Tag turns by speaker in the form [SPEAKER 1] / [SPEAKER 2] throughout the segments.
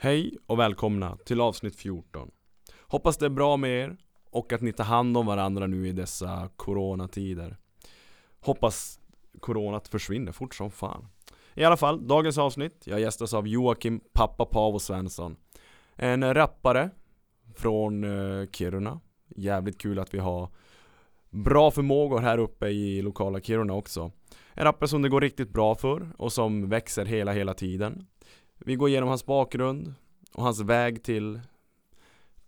[SPEAKER 1] Hej och välkomna till avsnitt 14. Hoppas det är bra med er och att ni tar hand om varandra nu i dessa coronatider. Hoppas coronat försvinner fort som fan. I alla fall, dagens avsnitt. Jag gästas av Joakim Pappa Paavo Svensson. En rappare från eh, Kiruna. Jävligt kul att vi har bra förmågor här uppe i lokala Kiruna också. En rappare som det går riktigt bra för och som växer hela, hela tiden. Vi går igenom hans bakgrund och hans väg till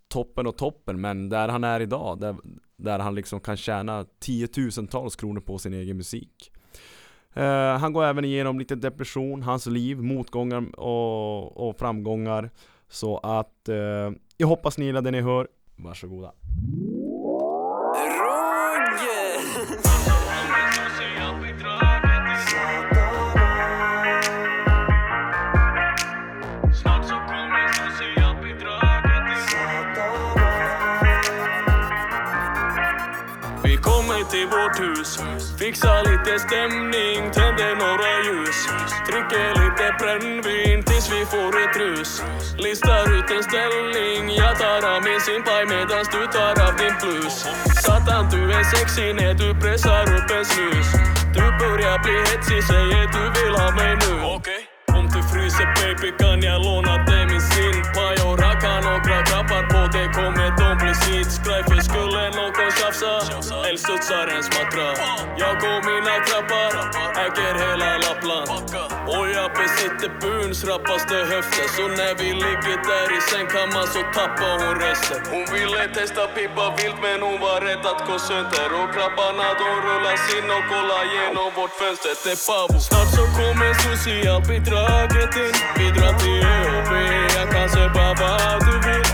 [SPEAKER 1] toppen och toppen men där han är idag där, där han liksom kan tjäna tiotusentals kronor på sin egen musik. Eh, han går även igenom lite depression, hans liv, motgångar och, och framgångar. Så att eh, jag hoppas ni gillar det ni hör. Varsågoda.
[SPEAKER 2] Roger! Vi kommer till vårt hus, fixar lite stämning, tänder några ljus. Dricker lite brännvin tills vi får ett rus. Listar ut en ställning, jag tar av min simpaj medans du tar av din blus. Satan du är sexig när du pressar upp en snus. Du börjar bli hetsig, säger du vill ha mig nu. Om du fryser baby kan jag låna dig min simpaj och racka några grabbar på dig kommer de bli sitskraj för skulle någon tjafsa älgstudsar en smattra Jag och mina grabbar äger hela Lappland och jag besitter byns rappaste höfter så när vi ligger där i säng kan man så tappa hon resten Hon ville testa pippa vilt men hon var rädd att gå sönder och grabbarna de rullas in och kollar genom vårt fönster Det är Pavo Snart så kommer socialbidraget in Bidrag till ÖB, jag kan söpa vad du vill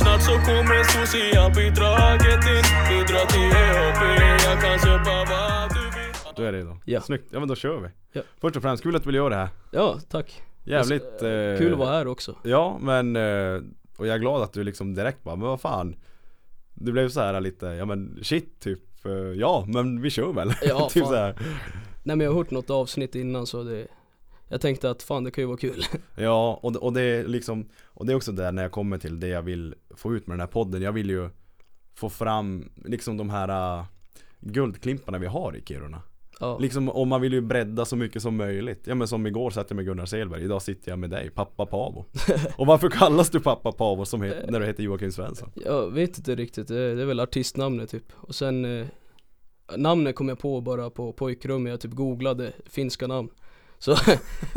[SPEAKER 2] Snart så kommer socialbidraget in Bidrag till ÖB, jag kan söpa vad du vill
[SPEAKER 1] Du är redo?
[SPEAKER 3] Ja.
[SPEAKER 1] Snyggt, ja men då kör vi.
[SPEAKER 3] Ja.
[SPEAKER 1] Först och främst, kul att du vill göra det här.
[SPEAKER 3] Ja, tack.
[SPEAKER 1] Jävligt... eh,
[SPEAKER 3] Kul att vara här också.
[SPEAKER 1] Ja, men eh, och jag är glad att du liksom direkt bara, men vad fan Du blev så här lite, ja men shit typ eh, Ja men vi kör väl?
[SPEAKER 3] Ja,
[SPEAKER 1] typ
[SPEAKER 3] fan.
[SPEAKER 1] så här.
[SPEAKER 3] Nej men jag har hört något avsnitt innan så det Jag tänkte att fan det kan ju vara kul.
[SPEAKER 1] Ja och, det- och det är liksom Och det är också där när jag kommer till det jag vill få ut med den här podden Jag vill ju få fram liksom de här eh, guldklimparna vi har i Kiruna
[SPEAKER 3] Ja,
[SPEAKER 1] Liksom om man vill ju bredda så mycket som möjligt Ja men som igår satt jag med Gunnar Selberg Idag sitter jag med dig, pappa Paavo Och varför kallas du pappa Paavo som het, när du heter Joakim Svensson?
[SPEAKER 3] jag vet inte riktigt, det är, det är väl artistnamnet typ. Och sen eh, Namnet kom jag på bara på pojkrummet, jag typ googlade finska namn. Så,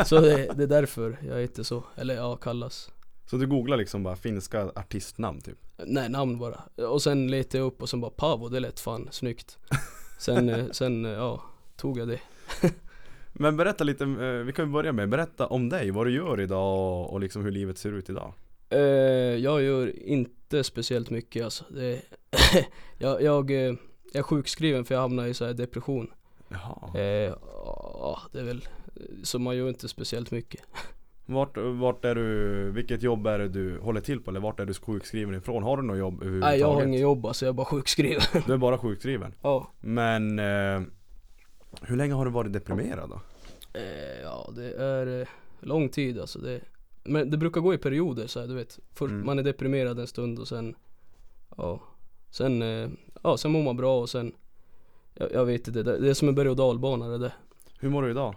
[SPEAKER 3] så det, det är därför jag heter så, eller ja kallas.
[SPEAKER 1] Så du googlar liksom bara finska artistnamn typ?
[SPEAKER 3] Nej namn bara. Och sen letade jag upp och sen bara Pavo, det lät fan snyggt. Sen, eh, sen eh, ja, tog jag det.
[SPEAKER 1] Men berätta lite, eh, vi kan ju börja med, berätta om dig, vad du gör idag och, och liksom hur livet ser ut idag
[SPEAKER 3] Eh, jag gör inte speciellt mycket alltså. Det, jag, jag, eh, jag är sjukskriven för jag hamnar i så här depression.
[SPEAKER 1] Jaha
[SPEAKER 3] Eh, ja, det är väl, så man gör inte speciellt mycket.
[SPEAKER 1] Vart, vart är du, vilket jobb är det du håller till på eller vart är du sjukskriven ifrån? Har du något jobb överhuvudtaget?
[SPEAKER 3] Nej jag har inget jobb alltså, jag är bara sjukskriven.
[SPEAKER 1] Du är bara sjukskriven
[SPEAKER 3] ja.
[SPEAKER 1] Men eh, hur länge har du varit deprimerad då?
[SPEAKER 3] Eh, ja det är eh, lång tid alltså. Det, men det brukar gå i perioder så här, du vet. Först
[SPEAKER 1] Mm.
[SPEAKER 3] man är deprimerad en stund och sen, ja. Sen, eh, ja sen mår man bra och sen, jag, jag vet inte, det, det är som en berg och dalbana det där.
[SPEAKER 1] Hur mår du idag?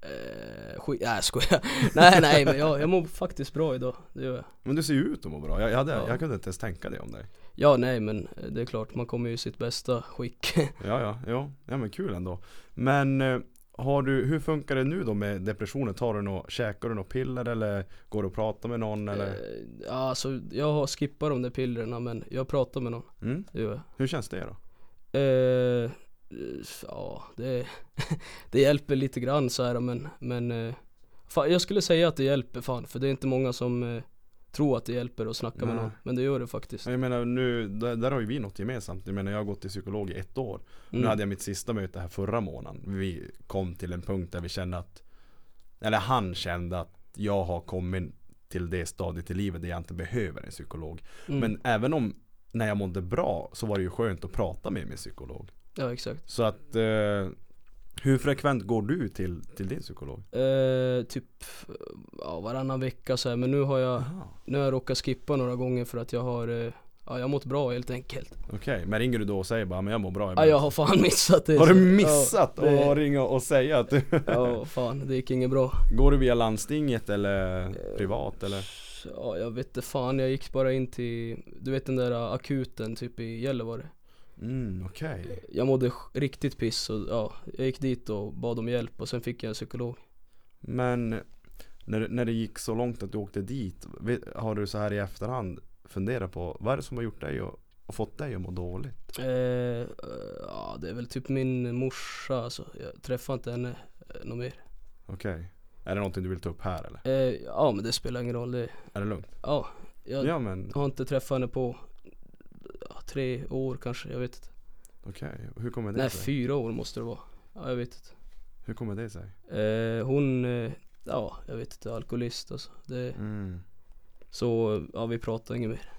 [SPEAKER 3] Eh, skit, nej jag skojar. nej nej men jag, jag mår faktiskt bra idag, det gör jag.
[SPEAKER 1] Men du ser ju ut att må bra, jag, jag, hade,
[SPEAKER 3] Ja.
[SPEAKER 1] jag kunde inte ens tänka det om dig
[SPEAKER 3] Ja nej men eh, det är klart man kommer ju i sitt bästa skick.
[SPEAKER 1] Ja ja, ja, ja men kul ändå Men eh, har du, hur funkar det nu då med depressionen? Tar du något, käkar du något piller eller går du och pratar med någon eller?
[SPEAKER 3] Eh, ja, alltså jag har skippat de där pillerna men jag pratar med någon,
[SPEAKER 1] Mm?
[SPEAKER 3] det gör jag.
[SPEAKER 1] Hur känns det då?
[SPEAKER 3] Eh, ja det, det hjälper lite grann så här men, men eh, fan, jag skulle säga att det hjälper fan för det är inte många som eh, tror att det hjälper att snacka med
[SPEAKER 1] Nej.
[SPEAKER 3] någon men det gör det faktiskt.
[SPEAKER 1] Ja, Jag menar nu, där, där har ju vi något gemensamt. Jag menar jag har gått till psykolog i ett år. Nu
[SPEAKER 3] Mm.
[SPEAKER 1] hade jag mitt sista möte här förra månaden. Vi kom till en punkt där vi kände att Eller han kände att jag har kommit till det stadiet i livet där jag inte behöver en psykolog.
[SPEAKER 3] Mm.
[SPEAKER 1] Men även om när jag mådde bra så var det ju skönt att prata med min psykolog.
[SPEAKER 3] Ja exakt.
[SPEAKER 1] Så att eh, Hur frekvent går du till, till din psykolog?
[SPEAKER 3] Eh, typ ja, varannan vecka så här. men nu har jag
[SPEAKER 1] Aha.
[SPEAKER 3] Nu har jag råkat skippa några gånger för att jag har eh, Ja jag har mått bra helt enkelt
[SPEAKER 1] Okej, men ringer du då och säger bara 'Men jag mår bra
[SPEAKER 3] ja,
[SPEAKER 1] ibland'?
[SPEAKER 3] Jag har fan missat det
[SPEAKER 1] Har du missat
[SPEAKER 3] Ja,
[SPEAKER 1] att
[SPEAKER 3] det-
[SPEAKER 1] ringa och säga att du
[SPEAKER 3] Ja fan det gick inget bra
[SPEAKER 1] Går du via landstinget eller
[SPEAKER 3] Eh.
[SPEAKER 1] privat eller?
[SPEAKER 3] Ja jag vet inte fan jag gick bara in till Du vet den där akuten typ i Gällivare
[SPEAKER 1] Mm, okej
[SPEAKER 3] Jag mådde sj- riktigt piss och ja Jag gick dit och bad om hjälp och sen fick jag en psykolog
[SPEAKER 1] Men när, när det gick så långt att du åkte dit vet- Har du så här i efterhand funderat på vad är det som har gjort dig och, och fått dig att må dåligt?
[SPEAKER 3] eh, eh, Ja det är väl typ min morsa alltså Jag träffar inte henne eh, något mer
[SPEAKER 1] Okej Är det någonting du vill ta upp här eller?
[SPEAKER 3] eh, Ja men det spelar ingen roll det
[SPEAKER 1] Är det lugnt?
[SPEAKER 3] Ja jag,
[SPEAKER 1] Ja men
[SPEAKER 3] Jag har inte träffat henne på ja, tre år kanske, jag vet inte.
[SPEAKER 1] okej, hur kommer det
[SPEAKER 3] Nej
[SPEAKER 1] sig?
[SPEAKER 3] fyra år måste det vara. Ja, jag vet inte.
[SPEAKER 1] Hur kommer det sig?
[SPEAKER 3] Eh, hon, eh, ja jag vet inte, alkoholist alltså. Det,
[SPEAKER 1] Mm.
[SPEAKER 3] Så ja vi pratar inget mer.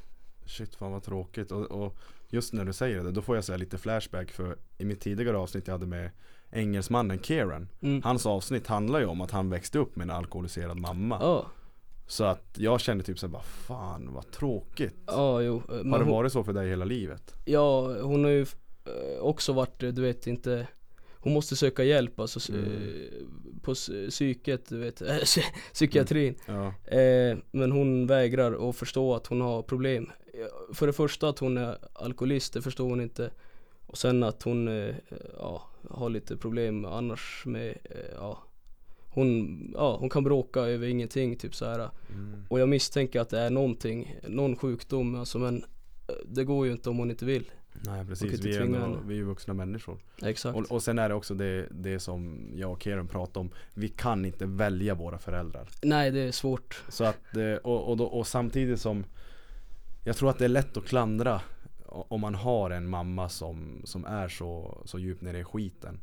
[SPEAKER 1] Shit fan vad tråkigt och, och just när du säger det då får jag säga lite flashback för i mitt tidigare avsnitt jag hade med engelsmannen Kieran
[SPEAKER 3] Mm.
[SPEAKER 1] Hans avsnitt handlar ju om att han växte upp med en alkoholiserad mamma
[SPEAKER 3] Ja,
[SPEAKER 1] Så att jag kände typ såhär bara fan vad tråkigt
[SPEAKER 3] ja jo. eh, Men
[SPEAKER 1] Har det
[SPEAKER 3] hon,
[SPEAKER 1] varit så för dig hela livet?
[SPEAKER 3] ja hon har ju eh, också varit, eh, du vet inte hon måste söka hjälp alltså s-
[SPEAKER 1] Mm.
[SPEAKER 3] eh, på s- psyket du vet, psykiatrin.
[SPEAKER 1] Ja,
[SPEAKER 3] Eh, men hon vägrar att förstå att hon har problem. Eh, För det första att hon är alkoholist, det förstår hon inte. Och sen att hon eh, ja, har lite problem annars med, eh, ja. Hon, ja, hon kan bråka över ingenting typ så här.
[SPEAKER 1] mm.
[SPEAKER 3] Och jag misstänker att det är någonting, någon sjukdom alltså men eh, det går ju inte om hon inte vill.
[SPEAKER 1] nej
[SPEAKER 3] Man kan
[SPEAKER 1] precis
[SPEAKER 3] inte
[SPEAKER 1] vi är,
[SPEAKER 3] tvinga
[SPEAKER 1] ändå,
[SPEAKER 3] henne.
[SPEAKER 1] vi är vuxna människor
[SPEAKER 3] Exakt.
[SPEAKER 1] och, och sen är det också det, det som jag och Kieran pratade om Vi kan inte välja våra föräldrar
[SPEAKER 3] Nej det är svårt.
[SPEAKER 1] Så att, eh, och, och, då, och samtidigt som Jag tror att det är lätt att klandra o- Om man har en mamma som, som är så, så djupt nere i skiten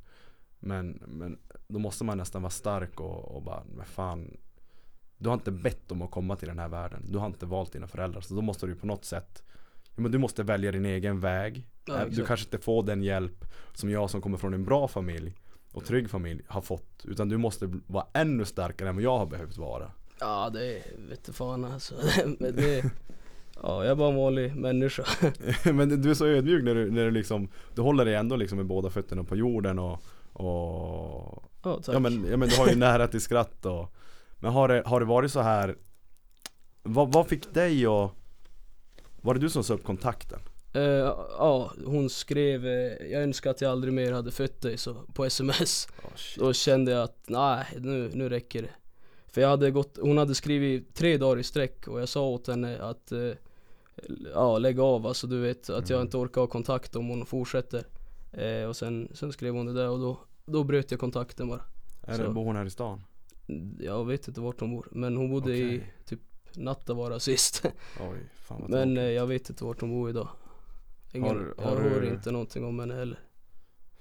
[SPEAKER 1] men, men då måste man nästan vara stark och, och bara, men fan Du har inte bett om att komma till den här världen Du har inte valt dina föräldrar så då måste du på något sätt ja, men Du måste välja din egen väg
[SPEAKER 3] Ja,
[SPEAKER 1] Eh, Du
[SPEAKER 3] exakt.
[SPEAKER 1] kanske inte får den hjälp Som jag som kommer från en bra familj Och trygg familj har fått Utan du måste bl- vara ännu starkare än vad jag har behövt vara
[SPEAKER 3] Ja det är, vet du fan alltså. men det, ja jag är bara en vanlig människa.
[SPEAKER 1] Men du är så ödmjuk när du, när du liksom Du håller dig ändå liksom med båda fötterna på jorden och, och
[SPEAKER 3] Ja tack.
[SPEAKER 1] ja, men, ja men du har ju nära till skratt och Men har det, har det varit så här vad, vad fick dig att Var det du som sa upp kontakten?
[SPEAKER 3] Eh, ja, hon skrev eh, Jag önskar att jag aldrig mer hade fött dig så, på sms Då kände jag att nej, nu, nu räcker det För jag hade gått, hon hade skrivit tre dagar i sträck och jag sa åt henne att eh, Ja, lägg av alltså du vet att
[SPEAKER 1] Mm.
[SPEAKER 3] jag inte orkar ha kontakt om hon fortsätter eh, Och sen, sen skrev hon det där och då, då bröt jag kontakten bara
[SPEAKER 1] Är det
[SPEAKER 3] Så.
[SPEAKER 1] bor hon här i stan?
[SPEAKER 3] Jag vet inte vart hon bor men hon bodde i
[SPEAKER 1] Okej.
[SPEAKER 3] typ Nattavaara sist
[SPEAKER 1] Oj, fan vad
[SPEAKER 3] Men
[SPEAKER 1] Men
[SPEAKER 3] eh, jag vet inte vart hon bor idag Ingen,
[SPEAKER 1] Har- har
[SPEAKER 3] Jag
[SPEAKER 1] du-
[SPEAKER 3] hör inte någonting om henne heller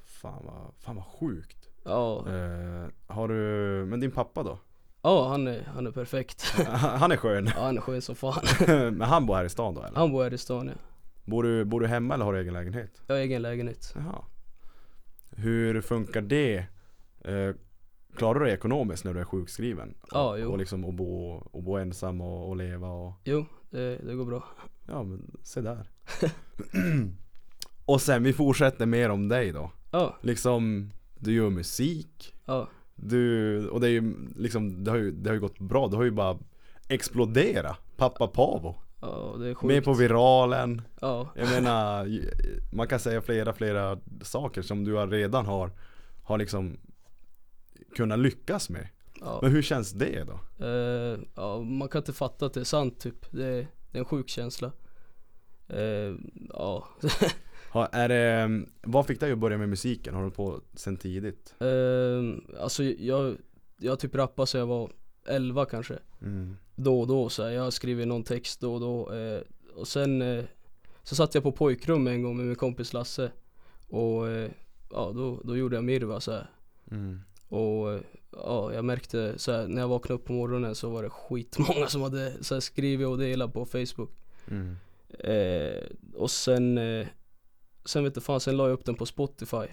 [SPEAKER 1] fan, vad, fan vad sjukt
[SPEAKER 3] Ja,
[SPEAKER 1] eh, Har du, men din pappa då?
[SPEAKER 3] ja han, är, han är perfekt.
[SPEAKER 1] Han är skön
[SPEAKER 3] Ja, han är skön som fan.
[SPEAKER 1] Men han bor här i stan då eller?
[SPEAKER 3] Han bor här i stan ja.
[SPEAKER 1] Bor du, bor du hemma eller har du egen lägenhet?
[SPEAKER 3] Jag har egen lägenhet.
[SPEAKER 1] Jaha. Hur funkar det? Eh, klarar du dig ekonomiskt när du är sjukskriven?
[SPEAKER 3] Ja,
[SPEAKER 1] och,
[SPEAKER 3] jo.
[SPEAKER 1] och liksom att bo, och bo ensam och, och leva och
[SPEAKER 3] Jo, det, det går bra.
[SPEAKER 1] ja men se där. och sen vi fortsätter mer om dig då.
[SPEAKER 3] Ja,
[SPEAKER 1] Liksom du gör musik.
[SPEAKER 3] ja,
[SPEAKER 1] Du, och det är ju liksom det har ju, det har ju gått bra. Du har ju bara explodera. Pappa Pavo.
[SPEAKER 3] ja det är
[SPEAKER 1] Med
[SPEAKER 3] sjukt.
[SPEAKER 1] på viralen.
[SPEAKER 3] Ja,
[SPEAKER 1] Jag menar, ju- man kan säga flera, flera saker som du har- redan har, har liksom kunnat lyckas med.
[SPEAKER 3] ja.
[SPEAKER 1] Men hur känns det då?
[SPEAKER 3] Eh, ja, man kan inte fatta att det är sant typ. Det är, det är en sjuk känsla. Eh, ja,
[SPEAKER 1] Har, är det, mm, vad fick dig att börja med musiken? Har du hållit på sen tidigt?
[SPEAKER 3] eh, alltså jag, jag typ rappade så jag var 11 kanske. då och då så här, jag skriver någon text då och då eh, och sen eh, så satt jag på pojkrum en gång med min kompis Lasse och eh, ja då, då gjorde jag mirva så här. och eh, ja jag märkte så här, när jag vaknade upp på morgonen så var det skitmånga som hade så här, skrivit och delat på Facebook mm, eh, och sen eh, sen vet du fan sen la jag upp den på Spotify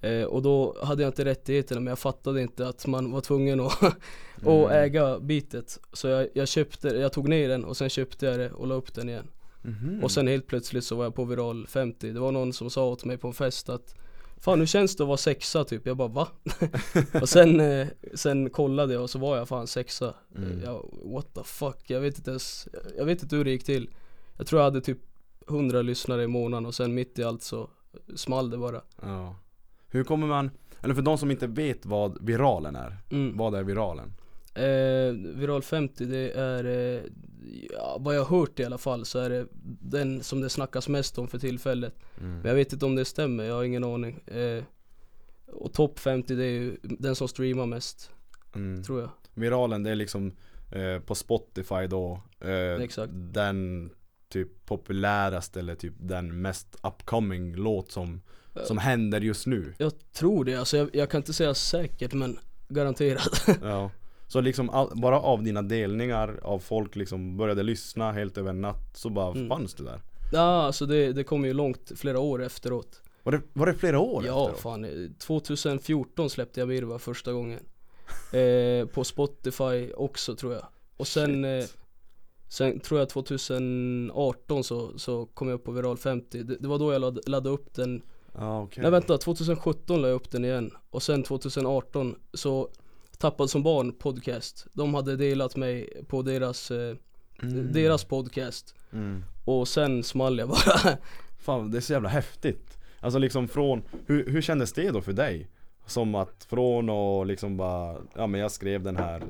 [SPEAKER 3] Eh, och då hade jag inte rättigheterna men jag fattade inte att man var tvungen att, att äga bitet. Så jag, jag köpte, jag tog ner den och sen köpte jag det och la upp den igen.
[SPEAKER 1] Mhm.
[SPEAKER 3] Och sen helt plötsligt så var jag på viral 50 Det var någon som sa åt mig på en fest att Fan hur känns det att vara sexa typ? Jag bara va? och sen, eh, sen kollade jag och så var jag fan sexa
[SPEAKER 1] Mm.
[SPEAKER 3] jag, What the fuck? Jag vet inte ens Jag vet inte hur det gick till Jag tror jag hade typ 100 lyssnare i månaden och sen mitt i allt så small det bara
[SPEAKER 1] Ja. Hur kommer man, eller för de som inte vet vad viralen är,
[SPEAKER 3] mm.
[SPEAKER 1] vad är viralen?
[SPEAKER 3] Eh, Viral 50 det är eh, ja, Vad jag har hört i alla fall så är det Den som det snackas mest om för tillfället Men jag vet inte om det stämmer, jag har ingen aning eh, Och topp 50 det är ju den som streamar mest
[SPEAKER 1] Mm.
[SPEAKER 3] tror jag
[SPEAKER 1] Viralen det är liksom eh, på Spotify då eh,
[SPEAKER 3] Exakt.
[SPEAKER 1] Den typ populäraste eller typ den mest upcoming låt som, som händer just nu
[SPEAKER 3] Jag tror det, alltså jag, jag kan inte säga säkert men garanterat
[SPEAKER 1] ja. Så liksom all, bara av dina delningar av folk liksom började lyssna helt över en natt så bara
[SPEAKER 3] Mm.
[SPEAKER 1] fanns det där
[SPEAKER 3] Ja alltså det, det kommer ju långt, flera år efteråt
[SPEAKER 1] Var det, var det flera år
[SPEAKER 3] Ja
[SPEAKER 1] efteråt?
[SPEAKER 3] fan, eh, 2014 släppte jag Mirva första gången eh, På Spotify också tror jag Och sen eh,
[SPEAKER 1] Shit.
[SPEAKER 3] Sen tror jag 2018 så, så kom jag upp på Viral 50 Det, det var då jag ladd, laddade upp den
[SPEAKER 1] Ja okej
[SPEAKER 3] Nej vänta, 2017 la jag upp den igen och sen 2018 så Tappad som barn podcast De hade delat mig på deras, eh,
[SPEAKER 1] Mm.
[SPEAKER 3] deras podcast
[SPEAKER 1] mm.
[SPEAKER 3] Och sen small jag bara
[SPEAKER 1] Fan det är så jävla häftigt Alltså liksom från, hur, hur kändes det då för dig? Som att från och liksom bara, ja men jag skrev den här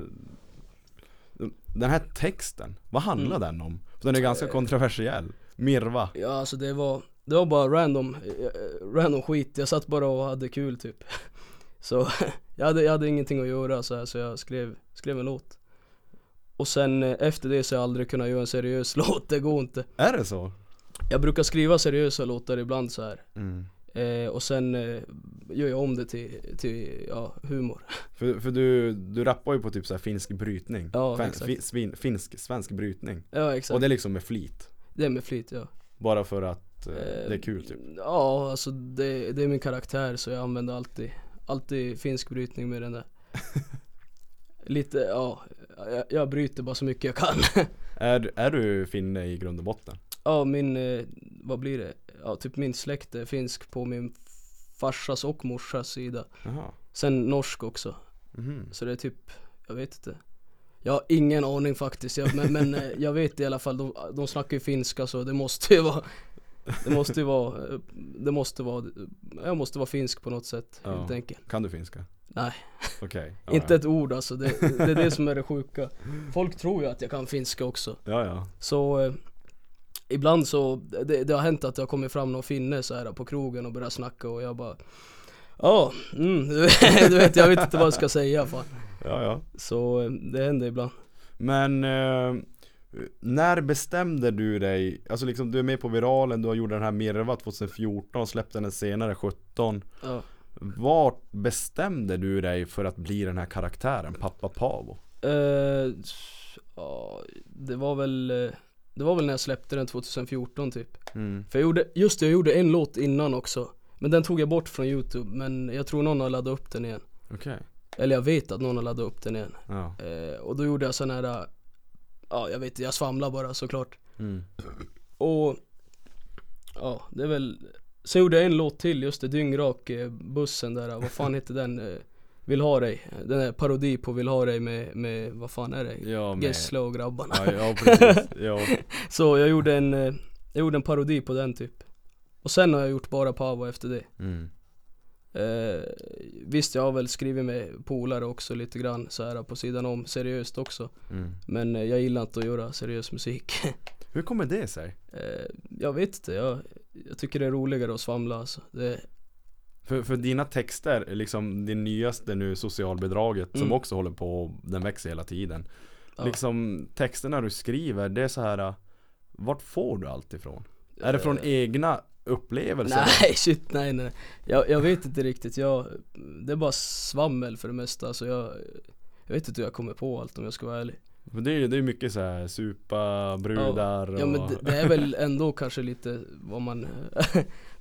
[SPEAKER 1] Den här texten, vad
[SPEAKER 3] Mm.
[SPEAKER 1] handlar den om? För den är ganska
[SPEAKER 3] Eh.
[SPEAKER 1] kontroversiell Mirva
[SPEAKER 3] Ja alltså det var Det var bara random eh, Random skit, jag satt bara och hade kul typ Så jag hade, jag hade ingenting att göra så, här, så jag skrev, skrev en låt Och sen eh, efter det så har jag aldrig kunnat göra en seriös låt, det går inte
[SPEAKER 1] Är det så?
[SPEAKER 3] Jag brukar skriva seriösa låtar ibland så här
[SPEAKER 1] Mm.
[SPEAKER 3] Eh, och sen eh, gör jag om det till, till ja, humor.
[SPEAKER 1] För, för du, du rappar ju på typ så här finsk brytning
[SPEAKER 3] Ja,
[SPEAKER 1] Fin-
[SPEAKER 3] exakt.
[SPEAKER 1] fi- svin, Finsk, svensk brytning
[SPEAKER 3] Ja exakt,
[SPEAKER 1] Och
[SPEAKER 3] det...
[SPEAKER 1] det är liksom med flit
[SPEAKER 3] är med flit ja.
[SPEAKER 1] Bara för att eh,
[SPEAKER 3] Eh,
[SPEAKER 1] det är kul typ
[SPEAKER 3] Ja alltså det, det är min karaktär så jag använder alltid, alltid finsk brytning med den där. Lite, ja, jag, jag bryter bara så mycket jag kan.
[SPEAKER 1] Är, är du finne i grund och botten?
[SPEAKER 3] ja min, eh, vad blir det? Ja typ min släkt är finsk på min farsas och morsas sida.
[SPEAKER 1] Jaha
[SPEAKER 3] Sen norsk också.
[SPEAKER 1] Mhm.
[SPEAKER 3] Så det är typ, jag vet inte Jag har ingen aning faktiskt, jag, men, men eh, jag vet i alla fall, de, de snackar ju finska så det måste ju vara Det måste ju vara, eh, det måste vara, eh, jag måste vara finsk på något sätt
[SPEAKER 1] Ja.
[SPEAKER 3] helt enkelt
[SPEAKER 1] Kan du finska?
[SPEAKER 3] Nej.
[SPEAKER 1] Okej ja,
[SPEAKER 3] Inte ett ord alltså, det, det är det som är det sjuka Folk tror ju att jag kan finska också
[SPEAKER 1] Ja ja
[SPEAKER 3] Så eh, Ibland så, det, det har hänt att det har kommit fram någon finne så här på krogen och börjat snacka och jag bara Ja, mm, du vet jag vet inte vad jag ska säga fan
[SPEAKER 1] Ja, ja.
[SPEAKER 3] Så eh, det händer ibland
[SPEAKER 1] Men eh, när bestämde du dig? Alltså liksom du är med på viralen, du har gjort den här Mirva 2014 och släppte den senare 17
[SPEAKER 3] Ja.
[SPEAKER 1] Vart bestämde du dig för att bli den här karaktären, pappa Pavo?
[SPEAKER 3] Eh, ja, det var väl eh, Det var väl när jag släppte den 2014 typ För jag gjorde, just det, jag gjorde en låt innan också Men den tog jag bort från youtube men jag tror någon har laddat upp den igen
[SPEAKER 1] Okej
[SPEAKER 3] Eller jag vet att någon har laddat upp den igen
[SPEAKER 1] Ja,
[SPEAKER 3] Eh, Och då gjorde jag sån här eh, Ja jag vet inte, jag svamlar bara såklart
[SPEAKER 1] mm.
[SPEAKER 3] Och Ja det är väl Sen gjorde jag en låt till, just det, dyngrak eh, bussen där, vad fan heter den? Eh, Vill ha dig, den är parodi på Vill ha dig med, med vad fan är det?
[SPEAKER 1] ja men
[SPEAKER 3] Gessle och grabbarna
[SPEAKER 1] ja, ja precis, ja.
[SPEAKER 3] Så jag gjorde en, eh, jag gjorde en parodi på den typ Och sen har jag gjort bara Pavo efter det
[SPEAKER 1] Mm.
[SPEAKER 3] eh, Visst jag har väl skrivit med polare också lite grann så här på sidan om seriöst också
[SPEAKER 1] Mm.
[SPEAKER 3] Men eh, jag gillar inte att göra seriös musik
[SPEAKER 1] Hur kommer det sig?
[SPEAKER 3] eh, Jag vet inte, jag, jag tycker det är roligare att svamla alltså. det,
[SPEAKER 1] För, för dina texter, liksom det nyaste nu, socialbidraget som
[SPEAKER 3] Mm.
[SPEAKER 1] också håller på, den växer hela tiden
[SPEAKER 3] Ja.
[SPEAKER 1] Liksom texterna du skriver, det är så här äh, Vart får du allt ifrån? Är det från egna upplevelser?
[SPEAKER 3] Eh. Nej shit nej nej jag, jag vet inte riktigt, jag, det är bara svammel för det mesta alltså jag, jag vet inte hur jag kommer på allt om jag ska vara ärlig
[SPEAKER 1] För det är ju det är mycket så här supa, brudar
[SPEAKER 3] Ja men
[SPEAKER 1] och...
[SPEAKER 3] det, det är väl ändå kanske lite vad man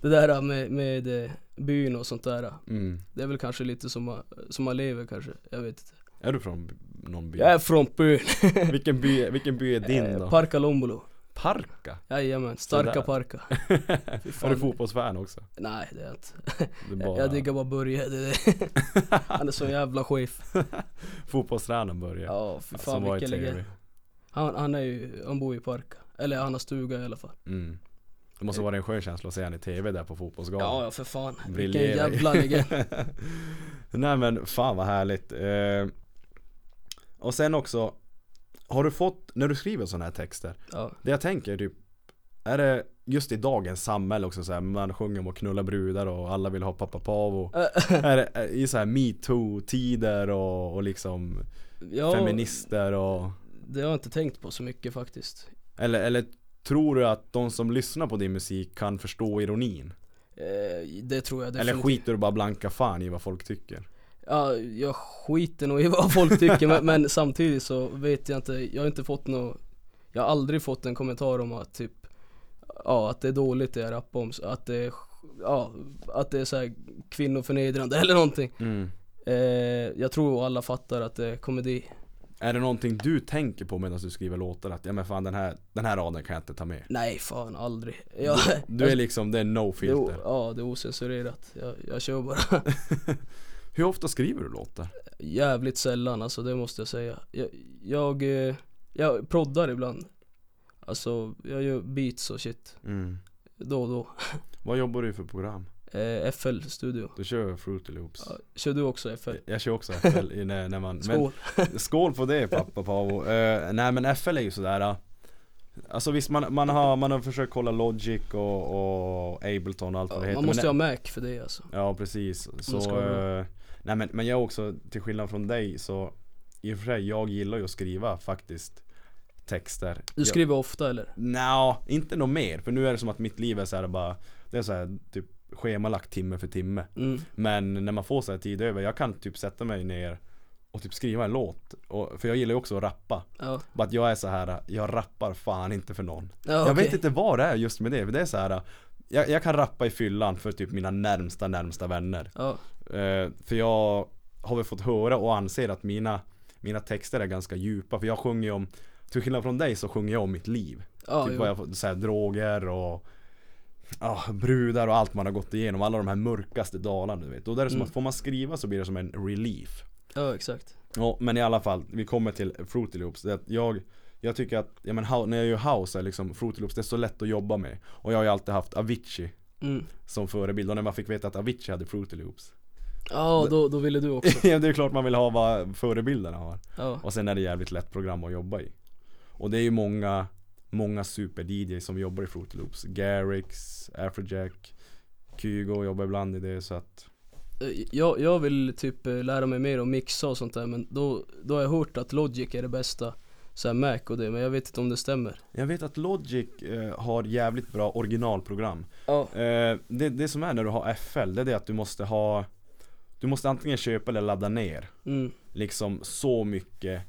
[SPEAKER 3] Det där med, med eh, byn och sånt där
[SPEAKER 1] Mm.
[SPEAKER 3] Det är väl kanske lite som man, som man lever kanske, jag vet inte
[SPEAKER 1] Är du från b- någon by?
[SPEAKER 3] Jag är från byn,
[SPEAKER 1] Vilken by, vilken by är din då?
[SPEAKER 3] Parka Lombolo
[SPEAKER 1] Parka?
[SPEAKER 3] Jajamän, starka
[SPEAKER 1] Sådär.
[SPEAKER 3] Parka
[SPEAKER 1] Är
[SPEAKER 3] fan.
[SPEAKER 1] du fotbollsfan också?
[SPEAKER 3] Nej det är jag inte,
[SPEAKER 1] Du bara...
[SPEAKER 3] jag diggar bara Börje det är det. Han är så jävla chef
[SPEAKER 1] Fotbollstränaren Börje.
[SPEAKER 3] Ja fy
[SPEAKER 1] som
[SPEAKER 3] fan
[SPEAKER 1] var i
[SPEAKER 3] vilken legend
[SPEAKER 1] TV.
[SPEAKER 3] han, han är ju, han bor i Parka Eller han har stuga i alla fall
[SPEAKER 1] Mm. Det måste vara en skön känsla att se han i TV där på fotbollsgalan.
[SPEAKER 3] Eh. Ja ja för fan, vilken
[SPEAKER 1] Briljerar.
[SPEAKER 3] jävla legend
[SPEAKER 1] Nej men fan vad härligt. Eh, och sen också, har du fått, när du skriver sådana här texter,
[SPEAKER 3] ja.
[SPEAKER 1] det jag tänker typ, är det just i dagens samhälle också så här, man sjunger om att knulla brudar och alla vill ha pappa pavo.
[SPEAKER 3] Eh.
[SPEAKER 1] är det, är- I så här metoo-tider och, och liksom
[SPEAKER 3] ja,
[SPEAKER 1] feminister och
[SPEAKER 3] Det har jag inte tänkt på så mycket faktiskt
[SPEAKER 1] eller, eller tror du att de som lyssnar på din musik kan förstå ironin?
[SPEAKER 3] Eh, Det tror jag
[SPEAKER 1] Eller
[SPEAKER 3] definitivt.
[SPEAKER 1] skiter du bara blanka fan i vad folk tycker?
[SPEAKER 3] Ja, jag skiter nog i vad folk tycker men, men samtidigt så vet jag inte, jag har inte fått något Jag har aldrig fått en kommentar om att typ Ja, att det är dåligt det jag rappar om, så att det är Ja, att det är så här kvinnoförnedrande eller någonting eh, Jag tror alla fattar att det är komedi
[SPEAKER 1] Är det någonting du tänker på medan du skriver låtar? Att ja men fan den här, den här raden kan jag inte ta med.
[SPEAKER 3] Nej fan aldrig jag,
[SPEAKER 1] Du
[SPEAKER 3] Alltså-
[SPEAKER 1] är liksom, det är no
[SPEAKER 3] det är o-
[SPEAKER 1] filter.
[SPEAKER 3] Ja, det är ocensurerat Jag, jag kör bara
[SPEAKER 1] Hur ofta skriver du låtar?
[SPEAKER 3] Jävligt sällan alltså, det måste jag säga. Jag, jag, eh, jag proddar ibland. Alltså, jag gör beats och shit. Då och då.
[SPEAKER 1] Vad jobbar du för program?
[SPEAKER 3] Eh, FL Studio.
[SPEAKER 1] Du kör Fruity Loops.
[SPEAKER 3] Ja, Kör du också FL?
[SPEAKER 1] Jag kör också FL i när, när man men-
[SPEAKER 3] Skål.
[SPEAKER 1] Skål på det pappa Paavo. Eh, nej men FL är ju sådär eh, Alltså visst man, man, har, man har försökt kolla Logic och, och Ableton och allt vad det
[SPEAKER 3] ja,
[SPEAKER 1] heter
[SPEAKER 3] man måste
[SPEAKER 1] men,
[SPEAKER 3] ha Mac för det alltså.
[SPEAKER 1] Ja precis, så
[SPEAKER 3] ska vara.
[SPEAKER 1] eh, Nej men, men jag också, till skillnad från dig så I och för sig, jag gillar ju att skriva faktiskt Texter
[SPEAKER 3] Du
[SPEAKER 1] Jag-
[SPEAKER 3] skriver ofta eller?
[SPEAKER 1] Nja, inte något mer. För nu är det som att mitt liv är så här bara Det är så här typ schemalagt timme för timme.
[SPEAKER 3] Mm.
[SPEAKER 1] Men när man får så här tid över, jag kan typ sätta mig ner och typ skriva en låt. Och, för jag gillar ju också att rappa.
[SPEAKER 3] Ja.
[SPEAKER 1] Bara att jag är så här, jag rappar fan inte för någon.
[SPEAKER 3] ja
[SPEAKER 1] Jag
[SPEAKER 3] okej.
[SPEAKER 1] vet inte vad det är just med det, för det är så här jag, jag kan rappa i fyllan för typ mina närmsta närmsta vänner.
[SPEAKER 3] Ja.
[SPEAKER 1] Eh, för jag har väl fått höra och anser att mina, mina texter är ganska djupa. För jag sjunger ju om, till skillnad från dig så sjunger jag om mitt liv.
[SPEAKER 3] Ja,
[SPEAKER 1] typ
[SPEAKER 3] jo.
[SPEAKER 1] vad jag fått, så här, droger och ah, brudar och allt man har gått igenom. Alla de här mörkaste dalarna du vet. Och där är det som
[SPEAKER 3] Mm.
[SPEAKER 1] att får man skriva så blir det som en relief.
[SPEAKER 3] ja, exakt.
[SPEAKER 1] Ja, men i alla fall, vi kommer till Fruity Loops. Det är att jag, jag tycker att, ja, men, hou- när jag gör house är liksom Fruity Loops, det är så lätt att jobba med. Och jag har ju alltid haft Avicii
[SPEAKER 3] Mm.
[SPEAKER 1] som förebild. Och när man fick veta att Avicii hade Fruity Loops.
[SPEAKER 3] Ja, då, då ville du också.
[SPEAKER 1] Ja, det är klart man vill ha vad förebilderna har.
[SPEAKER 3] Ja.
[SPEAKER 1] Och sen är det jävligt lätt program att jobba i. Och det är ju många, många super-DJ som jobbar i Fruity Loops. Garrix, Afrojack, Kygo jobbar ibland i det så att
[SPEAKER 3] Eh, Jag, jag vill typ eh, lära mig mer om mixa och sånt där men då, då har jag hört att Logic är det bästa så här Mac och det men jag vet inte om det stämmer
[SPEAKER 1] jag vet att Logic eh, har jävligt bra originalprogram.
[SPEAKER 3] Ja,
[SPEAKER 1] Eh, det, det som är när du har FL, det är det att du måste ha Du måste antingen köpa eller ladda ner
[SPEAKER 3] mm.
[SPEAKER 1] liksom så mycket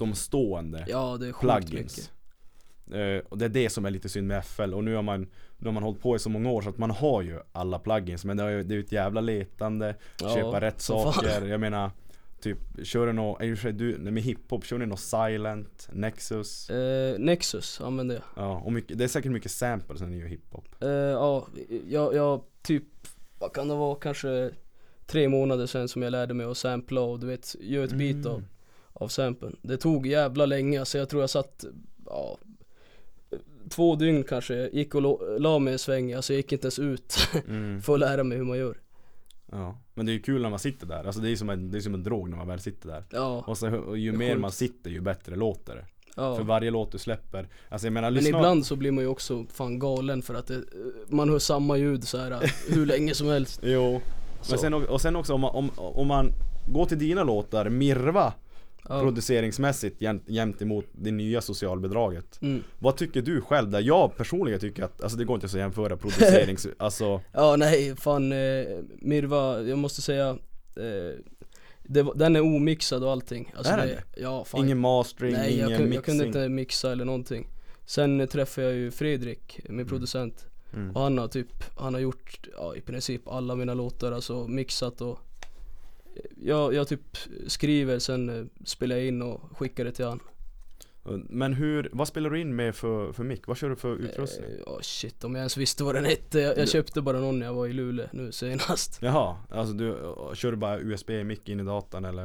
[SPEAKER 1] utomstående
[SPEAKER 3] ja det är sjukt
[SPEAKER 1] plugins.
[SPEAKER 3] mycket
[SPEAKER 1] Eh, och det är det som är lite synd med FL och nu har man Nu har man hållit på i så många år så att man har ju alla plugins men det är ju det är ju ett jävla letande
[SPEAKER 3] Ja,
[SPEAKER 1] Köpa rätt
[SPEAKER 3] som fan.
[SPEAKER 1] saker, jag menar Typ, kör du någon, i och för sig du, nej, med hiphop, kör ni någon silent, nexus?
[SPEAKER 3] eh, Nexus använder jag
[SPEAKER 1] Ja, och mycket, det är säkert mycket samples när ni gör hiphop
[SPEAKER 3] eh, Ja, jag, jag typ, vad kan det vara, kanske tre månader sedan som jag lärde mig att sampla och du vet, göra ett beat
[SPEAKER 1] Mm.
[SPEAKER 3] av, av samplen Det tog jävla länge så jag tror jag satt, ja Två dygn kanske, jag gick och lo- la mig en sväng, alltså jag gick inte ens ut
[SPEAKER 1] Mm.
[SPEAKER 3] för att lära mig hur man gör
[SPEAKER 1] Ja, men det är ju kul när man sitter där. Alltså det är som en, det är som en drog när man väl sitter där.
[SPEAKER 3] Ja,
[SPEAKER 1] Och, så, och ju
[SPEAKER 3] Det är
[SPEAKER 1] mer
[SPEAKER 3] sjukt.
[SPEAKER 1] man sitter ju bättre låter det.
[SPEAKER 3] ja.
[SPEAKER 1] För varje låt du släpper. Alltså jag menar
[SPEAKER 3] Men
[SPEAKER 1] lyssna.
[SPEAKER 3] ibland så blir man ju också fan galen för att det, man hör samma ljud så här hur länge som helst
[SPEAKER 1] Jo.
[SPEAKER 3] Så.
[SPEAKER 1] Men sen, och sen också om man, om, om man går till dina låtar, Mirva
[SPEAKER 3] ja.
[SPEAKER 1] produceringsmässigt jäm, jämt emot det nya socialbidraget.
[SPEAKER 3] Mm.
[SPEAKER 1] Vad tycker du själv där? Jag personligen tycker att, alltså det går inte så att jämföra producerings, alltså
[SPEAKER 3] ja nej fan eh, Mirva, jag måste säga eh, det, var- den är omixad och allting alltså
[SPEAKER 1] Är den
[SPEAKER 3] det, Ja, fan.
[SPEAKER 1] Ingen mastering,
[SPEAKER 3] Nej
[SPEAKER 1] ingen
[SPEAKER 3] jag kunde,
[SPEAKER 1] mixing.
[SPEAKER 3] jag kunde inte mixa eller någonting Sen eh, träffade jag ju Fredrik, min producent
[SPEAKER 1] Mm.
[SPEAKER 3] Och han har typ, han har gjort ja, i princip alla mina låtar, alltså mixat och eh, jag, jag typ skriver, sen eh, spelar jag in och skickar det till han
[SPEAKER 1] Men hur, vad spelar du in med för, för mick? Vad kör du för utrustning?
[SPEAKER 3] Eh, Ja shit, om jag ens visste vad den hette Jag, jag köpte bara någon när jag var i Luleå nu senast
[SPEAKER 1] Jaha, alltså du, eh, kör du bara USB-mick in i datorn eller?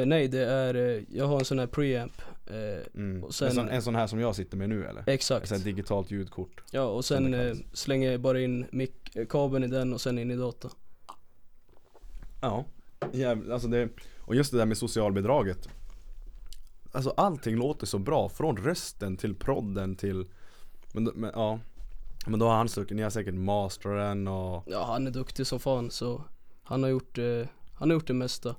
[SPEAKER 3] eh, Nej det är, eh, jag har en sån här preamp eh,
[SPEAKER 1] Mm.
[SPEAKER 3] och sen-
[SPEAKER 1] en,
[SPEAKER 3] Eh.
[SPEAKER 1] sån, en sån här som jag sitter med nu eller? Ett
[SPEAKER 3] Exakt
[SPEAKER 1] sånt här digitalt ljudkort.
[SPEAKER 3] Ja och
[SPEAKER 1] som
[SPEAKER 3] sen
[SPEAKER 1] det
[SPEAKER 3] eh,
[SPEAKER 1] kallas.
[SPEAKER 3] slänger jag bara in mic- eh, kabeln i den och sen in i datorn
[SPEAKER 1] Ja, jävlar, alltså det, och just det där med socialbidraget. Alltså allting låter så bra, från rösten till prodden till, men, men ja. Men då har han säkert, ni har säkert mastern och
[SPEAKER 3] Ja han är duktig som fan så han har gjort, eh, han har gjort det mesta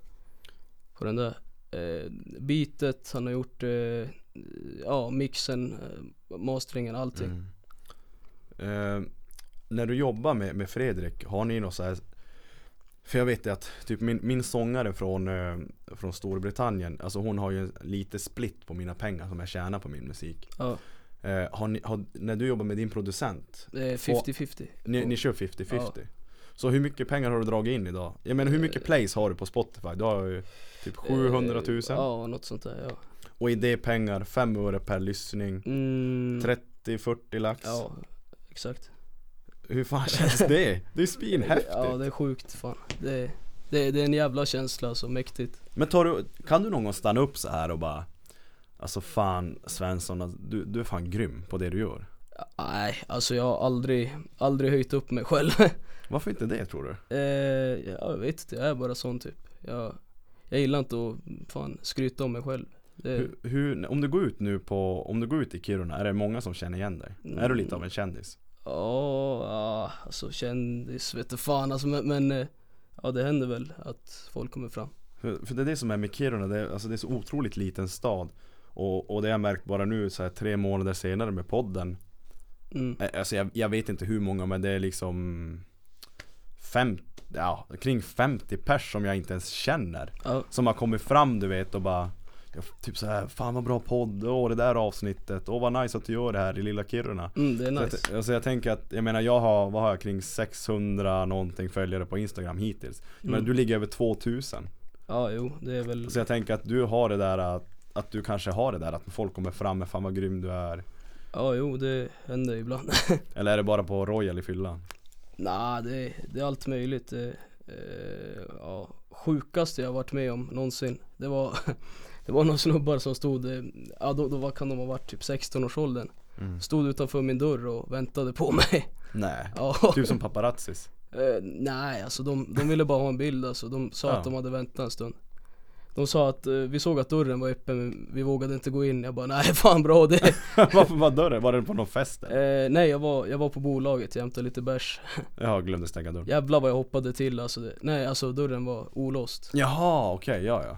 [SPEAKER 3] på den där eh, beatet, han har gjort eh, ja mixen, eh, masteringen, allting.
[SPEAKER 1] Mm. Eh, när du jobbar med, med Fredrik, har ni något så här För jag vet ju att typ min, min sångare från, eh, från Storbritannien Alltså hon har ju lite split på mina pengar som jag tjänar på min musik
[SPEAKER 3] Ja,
[SPEAKER 1] eh, har ni, har, När du jobbar med din producent,
[SPEAKER 3] det är 50-50.
[SPEAKER 1] ni,
[SPEAKER 3] Och-
[SPEAKER 1] ni kör 50-50 Så hur mycket pengar har du dragit in idag? Jag menar hur mycket plays har du på Spotify? Du har ju typ 700 000
[SPEAKER 3] Eh, Ja, något sånt där ja.
[SPEAKER 1] Och i det pengar 5 öre per lyssning
[SPEAKER 3] Mm,
[SPEAKER 1] 30-40 lax
[SPEAKER 3] Ja, exakt.
[SPEAKER 1] Hur fan känns det? Det är svinhäftigt!
[SPEAKER 3] Ja det är sjukt fan. Det, det, det är en jävla känsla alltså, mäktigt.
[SPEAKER 1] Men tar du, kan du någon gång stanna upp så här och bara Alltså fan Svensson, alltså, du, du är fan grym på det du gör
[SPEAKER 3] Nej, alltså jag har aldrig, aldrig höjt upp mig själv.
[SPEAKER 1] Varför inte det tror du?
[SPEAKER 3] eh, ja, jag vet inte, jag är bara sån typ. Jag, jag gillar inte att fan skryta om mig själv. Det,
[SPEAKER 1] Hur, hur, om du går ut nu på, om du går ut i Kiruna, är det många som känner igen dig? Är du lite av en kändis?
[SPEAKER 3] ja, ja, alltså kändis vete fan alltså men, men eh, ja det händer väl att folk kommer fram.
[SPEAKER 1] För, för det är det som är med Kiruna, det är, alltså det är så otroligt liten stad och, och det har jag märkt bara nu så här tre månader senare med podden
[SPEAKER 3] Mm.
[SPEAKER 1] Eh, Alltså jag, jag vet inte hur många men det är liksom fem, ja, kring 50 pers som jag inte ens känner
[SPEAKER 3] Ja,
[SPEAKER 1] Som har kommit fram du vet och bara ja, Typ så här, fan vad bra podd, åh det där avsnittet, åh vad nice att du gör det här i lilla Kiruna
[SPEAKER 3] mm, det är
[SPEAKER 1] så,
[SPEAKER 3] nice.
[SPEAKER 1] jag, alltså jag tänker att, jag menar jag har, vad har jag kring 600 någonting följare på Instagram hittills Men
[SPEAKER 3] Mm.
[SPEAKER 1] du ligger över 2000
[SPEAKER 3] Ja jo, det är väl
[SPEAKER 1] Så jag tänker att du har det där att, att du kanske har det där att folk kommer fram med fan vad grym du är
[SPEAKER 3] Ja jo, det händer ibland.
[SPEAKER 1] Eller är det bara på Royal i fyllan?
[SPEAKER 3] Nej, det, det är allt möjligt. Det, eh, ja, sjukaste jag varit med om någonsin. Det var, det var några snubbar som stod, eh, ja då, då var, kan de ha varit typ 16-årsåldern.
[SPEAKER 1] Mm.
[SPEAKER 3] Stod utanför min dörr och väntade på mig.
[SPEAKER 1] Nej
[SPEAKER 3] Ja.
[SPEAKER 1] Typ som paparazzis
[SPEAKER 3] Eh, nej, alltså de, de ville bara ha en bild alltså. De sa
[SPEAKER 1] Ja.
[SPEAKER 3] att de hade väntat en stund. De sa att eh, vi såg att dörren var öppen men vi vågade inte gå in. Jag bara nej fan bra det.
[SPEAKER 1] Varför var dörren? Var den på någon fest? eller?
[SPEAKER 3] Eh, nej jag var, jag var på bolaget, jag hämtade lite bärs.
[SPEAKER 1] Jaha, glömde stänga dörren
[SPEAKER 3] Jävlar vad jag hoppade till alltså. Det, nej alltså dörren var olåst.
[SPEAKER 1] Jaha, okej, ja ja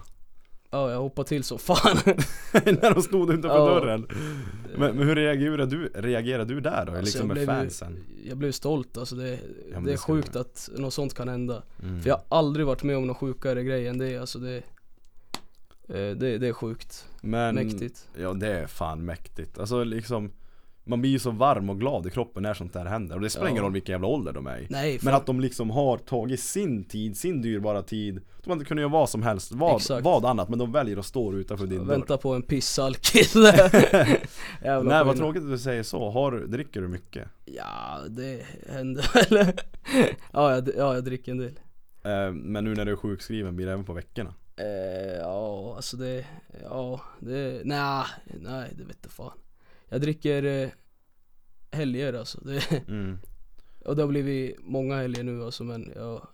[SPEAKER 3] Ja jag hoppade till så fan.
[SPEAKER 1] när de stod utanför
[SPEAKER 3] Ja.
[SPEAKER 1] dörren. Men, men hur reagerar du, reagerar du där då? liksom
[SPEAKER 3] Alltså, jag
[SPEAKER 1] med
[SPEAKER 3] blev ju-
[SPEAKER 1] fansen?
[SPEAKER 3] Jag blev stolt alltså det,
[SPEAKER 1] men
[SPEAKER 3] det är
[SPEAKER 1] det ska
[SPEAKER 3] sjukt
[SPEAKER 1] du.
[SPEAKER 3] att något sånt kan hända.
[SPEAKER 1] Mm.
[SPEAKER 3] För jag har aldrig varit med om någon sjukare grej än det alltså det eh, det, det är sjukt,
[SPEAKER 1] men,
[SPEAKER 3] mäktigt.
[SPEAKER 1] Ja det är fan mäktigt. Alltså liksom Man blir ju så varm och glad i kroppen när sånt där händer. Och det spelar ingen
[SPEAKER 3] Ja.
[SPEAKER 1] roll vilken jävla ålder de är i.
[SPEAKER 3] Nej,
[SPEAKER 1] Men
[SPEAKER 3] fan,
[SPEAKER 1] att de liksom har tagit sin tid, sin dyrbara tid. De hade kunnat göra vad som helst, vad,
[SPEAKER 3] Exakt.
[SPEAKER 1] vad annat. Men de väljer att stå utanför din dörr.
[SPEAKER 3] vänta på en pissalkis. Jävla
[SPEAKER 1] Nej vad
[SPEAKER 3] skillnad.
[SPEAKER 1] tråkigt att du säger så. Har, dricker du mycket?
[SPEAKER 3] Ja, det händer väl. ja, jag, ja, jag dricker en del.
[SPEAKER 1] Eh, men nu när du är sjukskriven blir det även på veckorna.
[SPEAKER 3] Eh, ja, alltså det, ja, det, nej, nej det vet jag fan. Jag dricker eh, helger alltså. Det,
[SPEAKER 1] Mm.
[SPEAKER 3] och det har blivit många helger nu alltså men jag,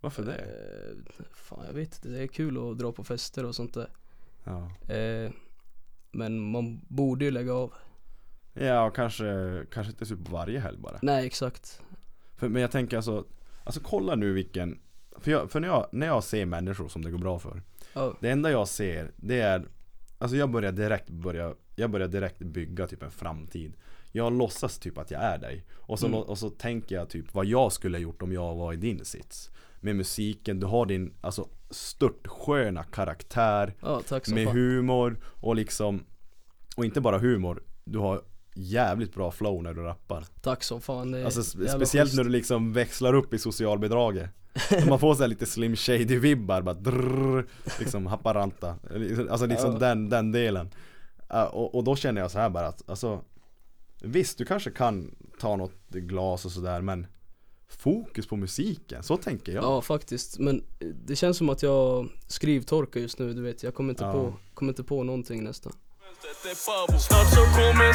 [SPEAKER 1] Varför det?
[SPEAKER 3] eh, fan jag vet inte, det är kul att dra på fester och sånt där.
[SPEAKER 1] Ja.
[SPEAKER 3] Eh, men man borde ju lägga av.
[SPEAKER 1] Ja, kanske, kanske inte super varje helg bara.
[SPEAKER 3] Nej exakt.
[SPEAKER 1] För, men jag tänker alltså, alltså kolla nu vilken För, jag, för när, jag, när jag ser människor som det går bra för
[SPEAKER 3] Ja,
[SPEAKER 1] Det enda jag ser, det är Alltså jag börjar direkt börja, jag börjar direkt bygga typ en framtid Jag låtsas typ att jag är dig och så,
[SPEAKER 3] Mm.
[SPEAKER 1] lå- och så tänker jag typ vad jag skulle ha gjort om jag var i din sits Med musiken, du har din, alltså störtsköna karaktär
[SPEAKER 3] Ja, tack så
[SPEAKER 1] med
[SPEAKER 3] fan.
[SPEAKER 1] humor och liksom Och inte bara humor, du har jävligt bra flow när du rappar
[SPEAKER 3] Tack som fan. Det är
[SPEAKER 1] Alltså spe-
[SPEAKER 3] jävla
[SPEAKER 1] speciellt
[SPEAKER 3] schysst.
[SPEAKER 1] när du liksom växlar upp i socialbidraget När Man får så här lite Slim Shady vibbar bara drrrr, Liksom Haparanta Alltså liksom
[SPEAKER 3] Ja.
[SPEAKER 1] den, den delen Ja, och, och då känner jag så här bara att alltså Visst du kanske kan ta något glas och sådär men Fokus på musiken, så tänker jag
[SPEAKER 3] Ja faktiskt, men eh, det känns som att jag skrivtorkar just nu, du vet jag kommer inte,
[SPEAKER 1] Ja.
[SPEAKER 3] på, kommer inte på någonting nästan
[SPEAKER 2] Det är babo. Snart så kommer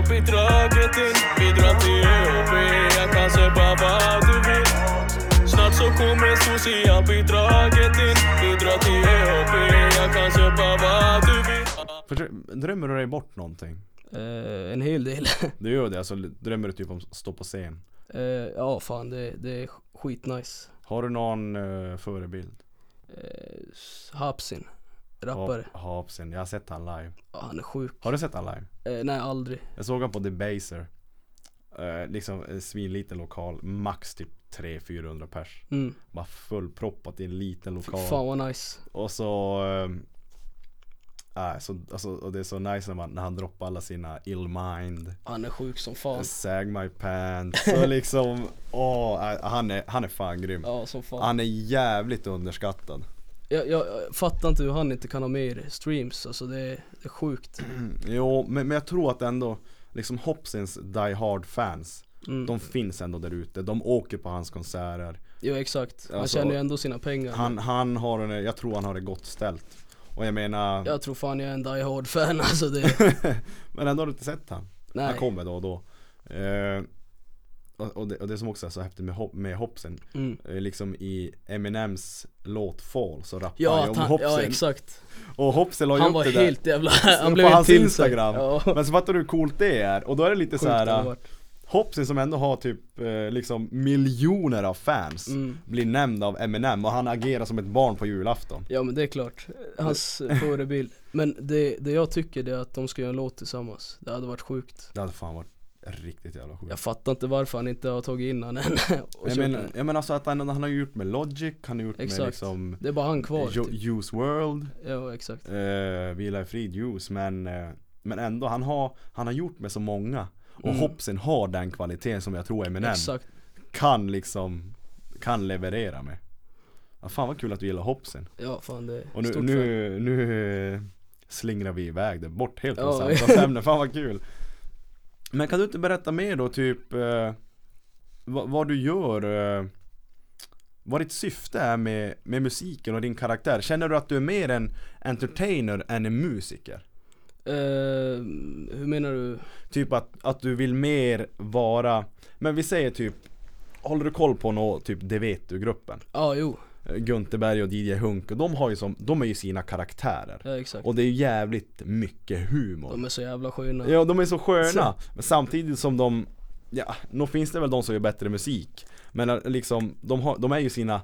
[SPEAKER 2] socialbidraget in Bidrag till ÖB, jag kan köpa vad du vill Snart så kommer socialbidraget in Bidrag till ÖB, jag kan köpa vad du vill
[SPEAKER 1] Försök- Drömmer du dig bort någonting?
[SPEAKER 3] eh, En hel del
[SPEAKER 1] Du gör det, alltså drömmer du typ om att stå på scen?
[SPEAKER 3] eh, Ja fan det, det är skitnice
[SPEAKER 1] Har du någon eh, förebild?
[SPEAKER 3] eh, Hapsin, rappare,
[SPEAKER 1] Ha- Hapsen, jag har sett han live
[SPEAKER 3] ja, han är sjuk
[SPEAKER 1] Har du sett han live?
[SPEAKER 3] eh, Nej aldrig
[SPEAKER 1] Jag såg han på Debaser eh, Liksom en svinliten lokal, max typ 300-400 pers
[SPEAKER 3] mm.
[SPEAKER 1] Bara fullproppat i en liten
[SPEAKER 3] Fy
[SPEAKER 1] lokal
[SPEAKER 3] Fan vad nice
[SPEAKER 1] Och så eh, äh, så, alltså, och det är så nice när, man, när han droppar alla sina ill mind
[SPEAKER 3] Han är sjuk som fan
[SPEAKER 1] Sag my pants Så liksom, åh, äh, han, är, han är fan grym
[SPEAKER 3] Ja som fan
[SPEAKER 1] Han är jävligt underskattad
[SPEAKER 3] jag, jag, jag fattar inte hur han inte kan ha mer streams, alltså det, är- det är sjukt
[SPEAKER 1] Jo, men, men jag tror att ändå Liksom Hopsins Die Hard fans
[SPEAKER 3] mm.
[SPEAKER 1] De finns ändå där ute, de åker på hans konserter
[SPEAKER 3] Ja exakt, han
[SPEAKER 1] Alltså,
[SPEAKER 3] tjänar ju ändå sina pengar
[SPEAKER 1] Han, han har en, jag tror han har det gott ställt Och jag menar,
[SPEAKER 3] Jag tror fan jag är en die hard fan alltså det
[SPEAKER 1] men ändå har du inte sett han
[SPEAKER 3] Nej.
[SPEAKER 1] Han kommer då och då eh, och, och, det, och det som också är så häftigt med, Hop, med Hopsen
[SPEAKER 3] Mm.
[SPEAKER 1] eh, Liksom i Eminems låt Fall så rappar
[SPEAKER 3] Ja,
[SPEAKER 1] han ju
[SPEAKER 3] att
[SPEAKER 1] om
[SPEAKER 3] han,
[SPEAKER 1] Hopsen
[SPEAKER 3] ja exakt.
[SPEAKER 1] Och Hopsen la ju
[SPEAKER 3] Han
[SPEAKER 1] upp
[SPEAKER 3] var
[SPEAKER 1] det där
[SPEAKER 3] helt jävla, han blev
[SPEAKER 1] på
[SPEAKER 3] helt
[SPEAKER 1] hans
[SPEAKER 3] till
[SPEAKER 1] instagram
[SPEAKER 3] sig. Ja.
[SPEAKER 1] Men så fattar du hur coolt det är? Och då är det lite så
[SPEAKER 3] Sjukt har det
[SPEAKER 1] här. äh,
[SPEAKER 3] varit.
[SPEAKER 1] Hopsin som ändå har typ eh, liksom miljoner av fans
[SPEAKER 3] Mm.
[SPEAKER 1] Blir nämnd av Eminem och han agerar som ett barn på julafton
[SPEAKER 3] ja men det är klart, hans förebild. Men det, det jag tycker det är att de ska göra en låt tillsammans. Det hade varit sjukt.
[SPEAKER 1] Det hade fan varit riktigt jävla sjukt
[SPEAKER 3] Jag fattar inte varför han inte har tagit in han än. och
[SPEAKER 1] Jag
[SPEAKER 3] kört
[SPEAKER 1] menar,
[SPEAKER 3] den.
[SPEAKER 1] jag menar alltså att han, han har gjort med Logic, han har gjort med
[SPEAKER 3] Exakt.
[SPEAKER 1] liksom
[SPEAKER 3] det är bara han kvar.
[SPEAKER 1] Jo-
[SPEAKER 3] Typ.
[SPEAKER 1] Juice World,
[SPEAKER 3] Ja exakt.
[SPEAKER 1] eh, Vila i frid Juice men, eh, men ändå han har, han har gjort med så många Och
[SPEAKER 3] Mm.
[SPEAKER 1] Hopsin har den kvaliteten som jag tror Eminem
[SPEAKER 3] Exakt.
[SPEAKER 1] kan liksom, kan leverera med ja, Fan vad kul att du gillar Hopsin
[SPEAKER 3] Ja fan det är
[SPEAKER 1] Och nu,
[SPEAKER 3] stort fan.
[SPEAKER 1] nu, nu eh, slingrar vi iväg det bort helt från
[SPEAKER 3] Ja.
[SPEAKER 1] samtalsämnet, fan vad kul Men kan du inte berätta mer då typ eh, vad, vad du gör eh, Vad ditt syfte är med, med musiken och din karaktär? Känner du att du är mer en entertainer än en musiker?
[SPEAKER 3] Eh, hur menar du?
[SPEAKER 1] Typ att, att du vill mer vara Men vi säger typ Håller du koll på nå typ Det vet du-gruppen?
[SPEAKER 3] Ja jo,
[SPEAKER 1] Eh, Gunterberg och DJ Hunk, och de har ju som, de är ju sina karaktärer
[SPEAKER 3] ja exakt.
[SPEAKER 1] Och det är ju jävligt mycket humor
[SPEAKER 3] De är så jävla sköna.
[SPEAKER 1] Ja de är så sköna,
[SPEAKER 3] Så.
[SPEAKER 1] men samtidigt som de Ja, nog finns det väl de som gör bättre musik Men eh, liksom, de, har, de är ju sina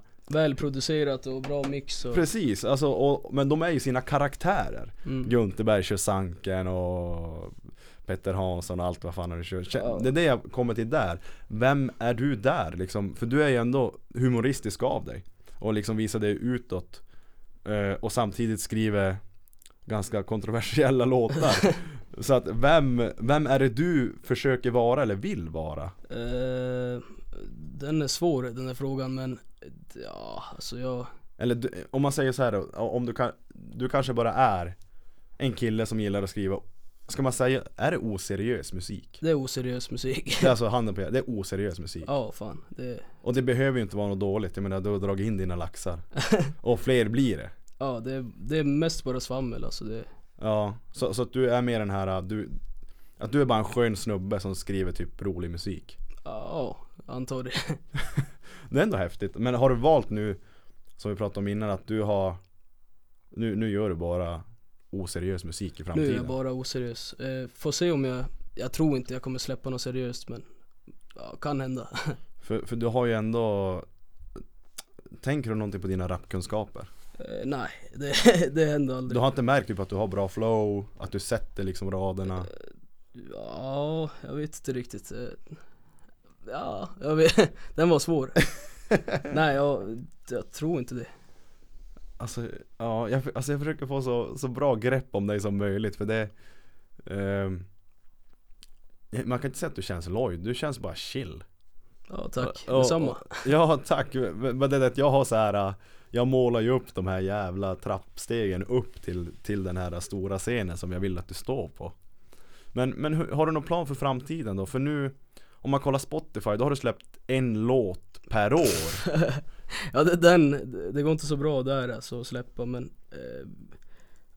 [SPEAKER 3] Välproducerat och bra mix och
[SPEAKER 1] Precis, alltså, och, men de är ju sina karaktärer
[SPEAKER 3] Mm.
[SPEAKER 1] Gunterberg kör Sanken och Petter Hansson och allt vad fan han kör Kän-
[SPEAKER 3] Ja.
[SPEAKER 1] Det är det jag kommer till där Vem är du där liksom? För du är ju ändå humoristisk av dig Och liksom visar dig utåt eh, Och samtidigt skriver Ganska kontroversiella låtar Så att vem, vem är det du försöker vara eller vill vara?
[SPEAKER 3] Eh, den är svår den här frågan men ja, alltså jag,
[SPEAKER 1] Eller du, om man säger så här då, om du, kan, du kanske bara är en kille som gillar att skriva Ska man säga, är det oseriös musik?
[SPEAKER 3] det är oseriös musik.
[SPEAKER 1] Det är alltså handen på hjärtat, det är oseriös musik
[SPEAKER 3] Ja fan, det,
[SPEAKER 1] Och det behöver ju inte vara något dåligt, jag menar du har dragit in dina laxar Och fler blir det
[SPEAKER 3] ja, det, det är mest bara svammel alltså. Det,
[SPEAKER 1] Ja, så, så att du är mer den här, du Att du är bara en skön snubbe som skriver typ rolig musik
[SPEAKER 3] ja, antar det.
[SPEAKER 1] Det är ändå häftigt, men har du valt nu Som vi pratade om innan att du har Nu, nu gör du bara oseriös musik i
[SPEAKER 3] Nu
[SPEAKER 1] framtiden
[SPEAKER 3] är jag bara oseriös. Eh, får se om jag, jag tror inte jag kommer släppa något seriöst men ja, kan hända.
[SPEAKER 1] För, för du har ju ändå Tänker du någonting på dina rapkunskaper?
[SPEAKER 3] Eh, nej, det, det händer aldrig.
[SPEAKER 1] Du har inte märkt typ att du har bra flow, att du sätter liksom raderna?
[SPEAKER 3] Ja, jag vet inte riktigt. Eh, Ja, jag vet. Den var svår. Nej, jag, jag tror inte det.
[SPEAKER 1] Alltså, ja, jag, alltså jag försöker få så, så bra grepp om dig som möjligt för det ehm, Man kan inte säga att du känns loj, du känns bara chill
[SPEAKER 3] Ja tack,
[SPEAKER 1] Ja,
[SPEAKER 3] detsamma
[SPEAKER 1] Ja tack, men men det är det att jag har så här äh, Jag målar ju upp de här jävla trappstegen upp till, till den här stora scenen som jag vill att du står på Men, men hur- har du någon plan för framtiden då? För nu Om man kollar Spotify, då har du släppt en låt per år
[SPEAKER 3] Ja det- den, det går inte så bra där alltså att släppa men eh,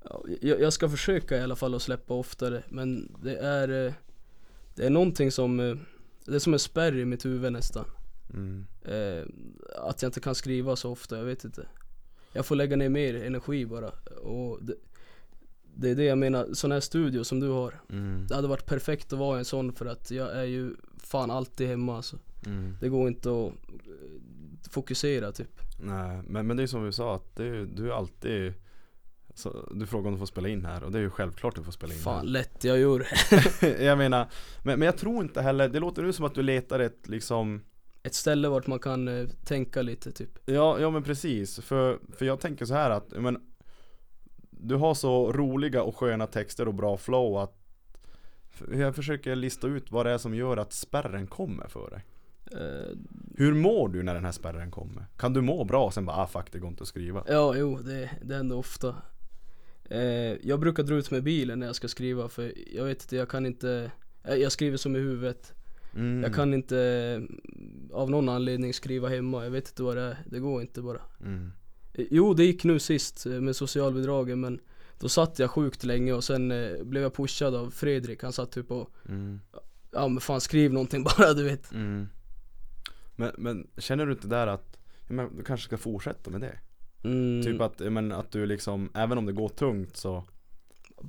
[SPEAKER 3] ja, jag, jag ska försöka i alla fall att släppa oftare men det är eh, Det är någonting som eh, Det är som en spärr i mitt huvud nästan
[SPEAKER 1] mm.
[SPEAKER 3] eh, Att jag inte kan skriva så ofta, jag vet inte Jag får lägga ner mer energi bara och det, det är det jag menar, sån här studio som du har
[SPEAKER 1] Mm.
[SPEAKER 3] Det hade varit perfekt att vara i en sån för att jag är ju fan alltid hemma alltså
[SPEAKER 1] Mm.
[SPEAKER 3] Det går inte att eh, fokusera typ
[SPEAKER 1] Nej, men, men det är som vi sa att det är, du är alltid så, Du frågar om du får spela in här och det är ju självklart du får spela in
[SPEAKER 3] Fan lätt jag gör det.
[SPEAKER 1] här. Jag menar, men, men jag tror inte heller, det låter nu som att du letar ett liksom
[SPEAKER 3] Ett ställe vart man kan eh, tänka lite typ
[SPEAKER 1] Ja, ja men precis. För, för jag tänker så här att, men Du har så roliga och sköna texter och bra flow att för jag försöker lista ut vad det är som gör att spärren kommer för dig.
[SPEAKER 3] Eh,
[SPEAKER 1] Hur mår du när den här spärren kommer? Kan du må bra och sen bara ah fuck det går inte att skriva?
[SPEAKER 3] Ja jo det, det händer ofta eh, Jag brukar dra ut med bilen när jag ska skriva för jag vet inte jag kan inte eh, Jag skriver som i huvudet
[SPEAKER 1] Mm.
[SPEAKER 3] Jag kan inte eh, av någon anledning skriva hemma Jag vet inte vad det är, det går inte bara
[SPEAKER 1] Mm.
[SPEAKER 3] Eh, Jo det gick nu sist eh, med socialbidragen men Då satt jag sjukt länge och sen eh, blev jag pushad av Fredrik Han satt typ och
[SPEAKER 1] Mm.
[SPEAKER 3] Ja men fan skriv någonting bara du vet
[SPEAKER 1] Mm. Men, men känner du inte där att ja, men, du kanske ska fortsätta med det?
[SPEAKER 3] mm,
[SPEAKER 1] Typ att, ja, men, att du liksom, även om det går tungt så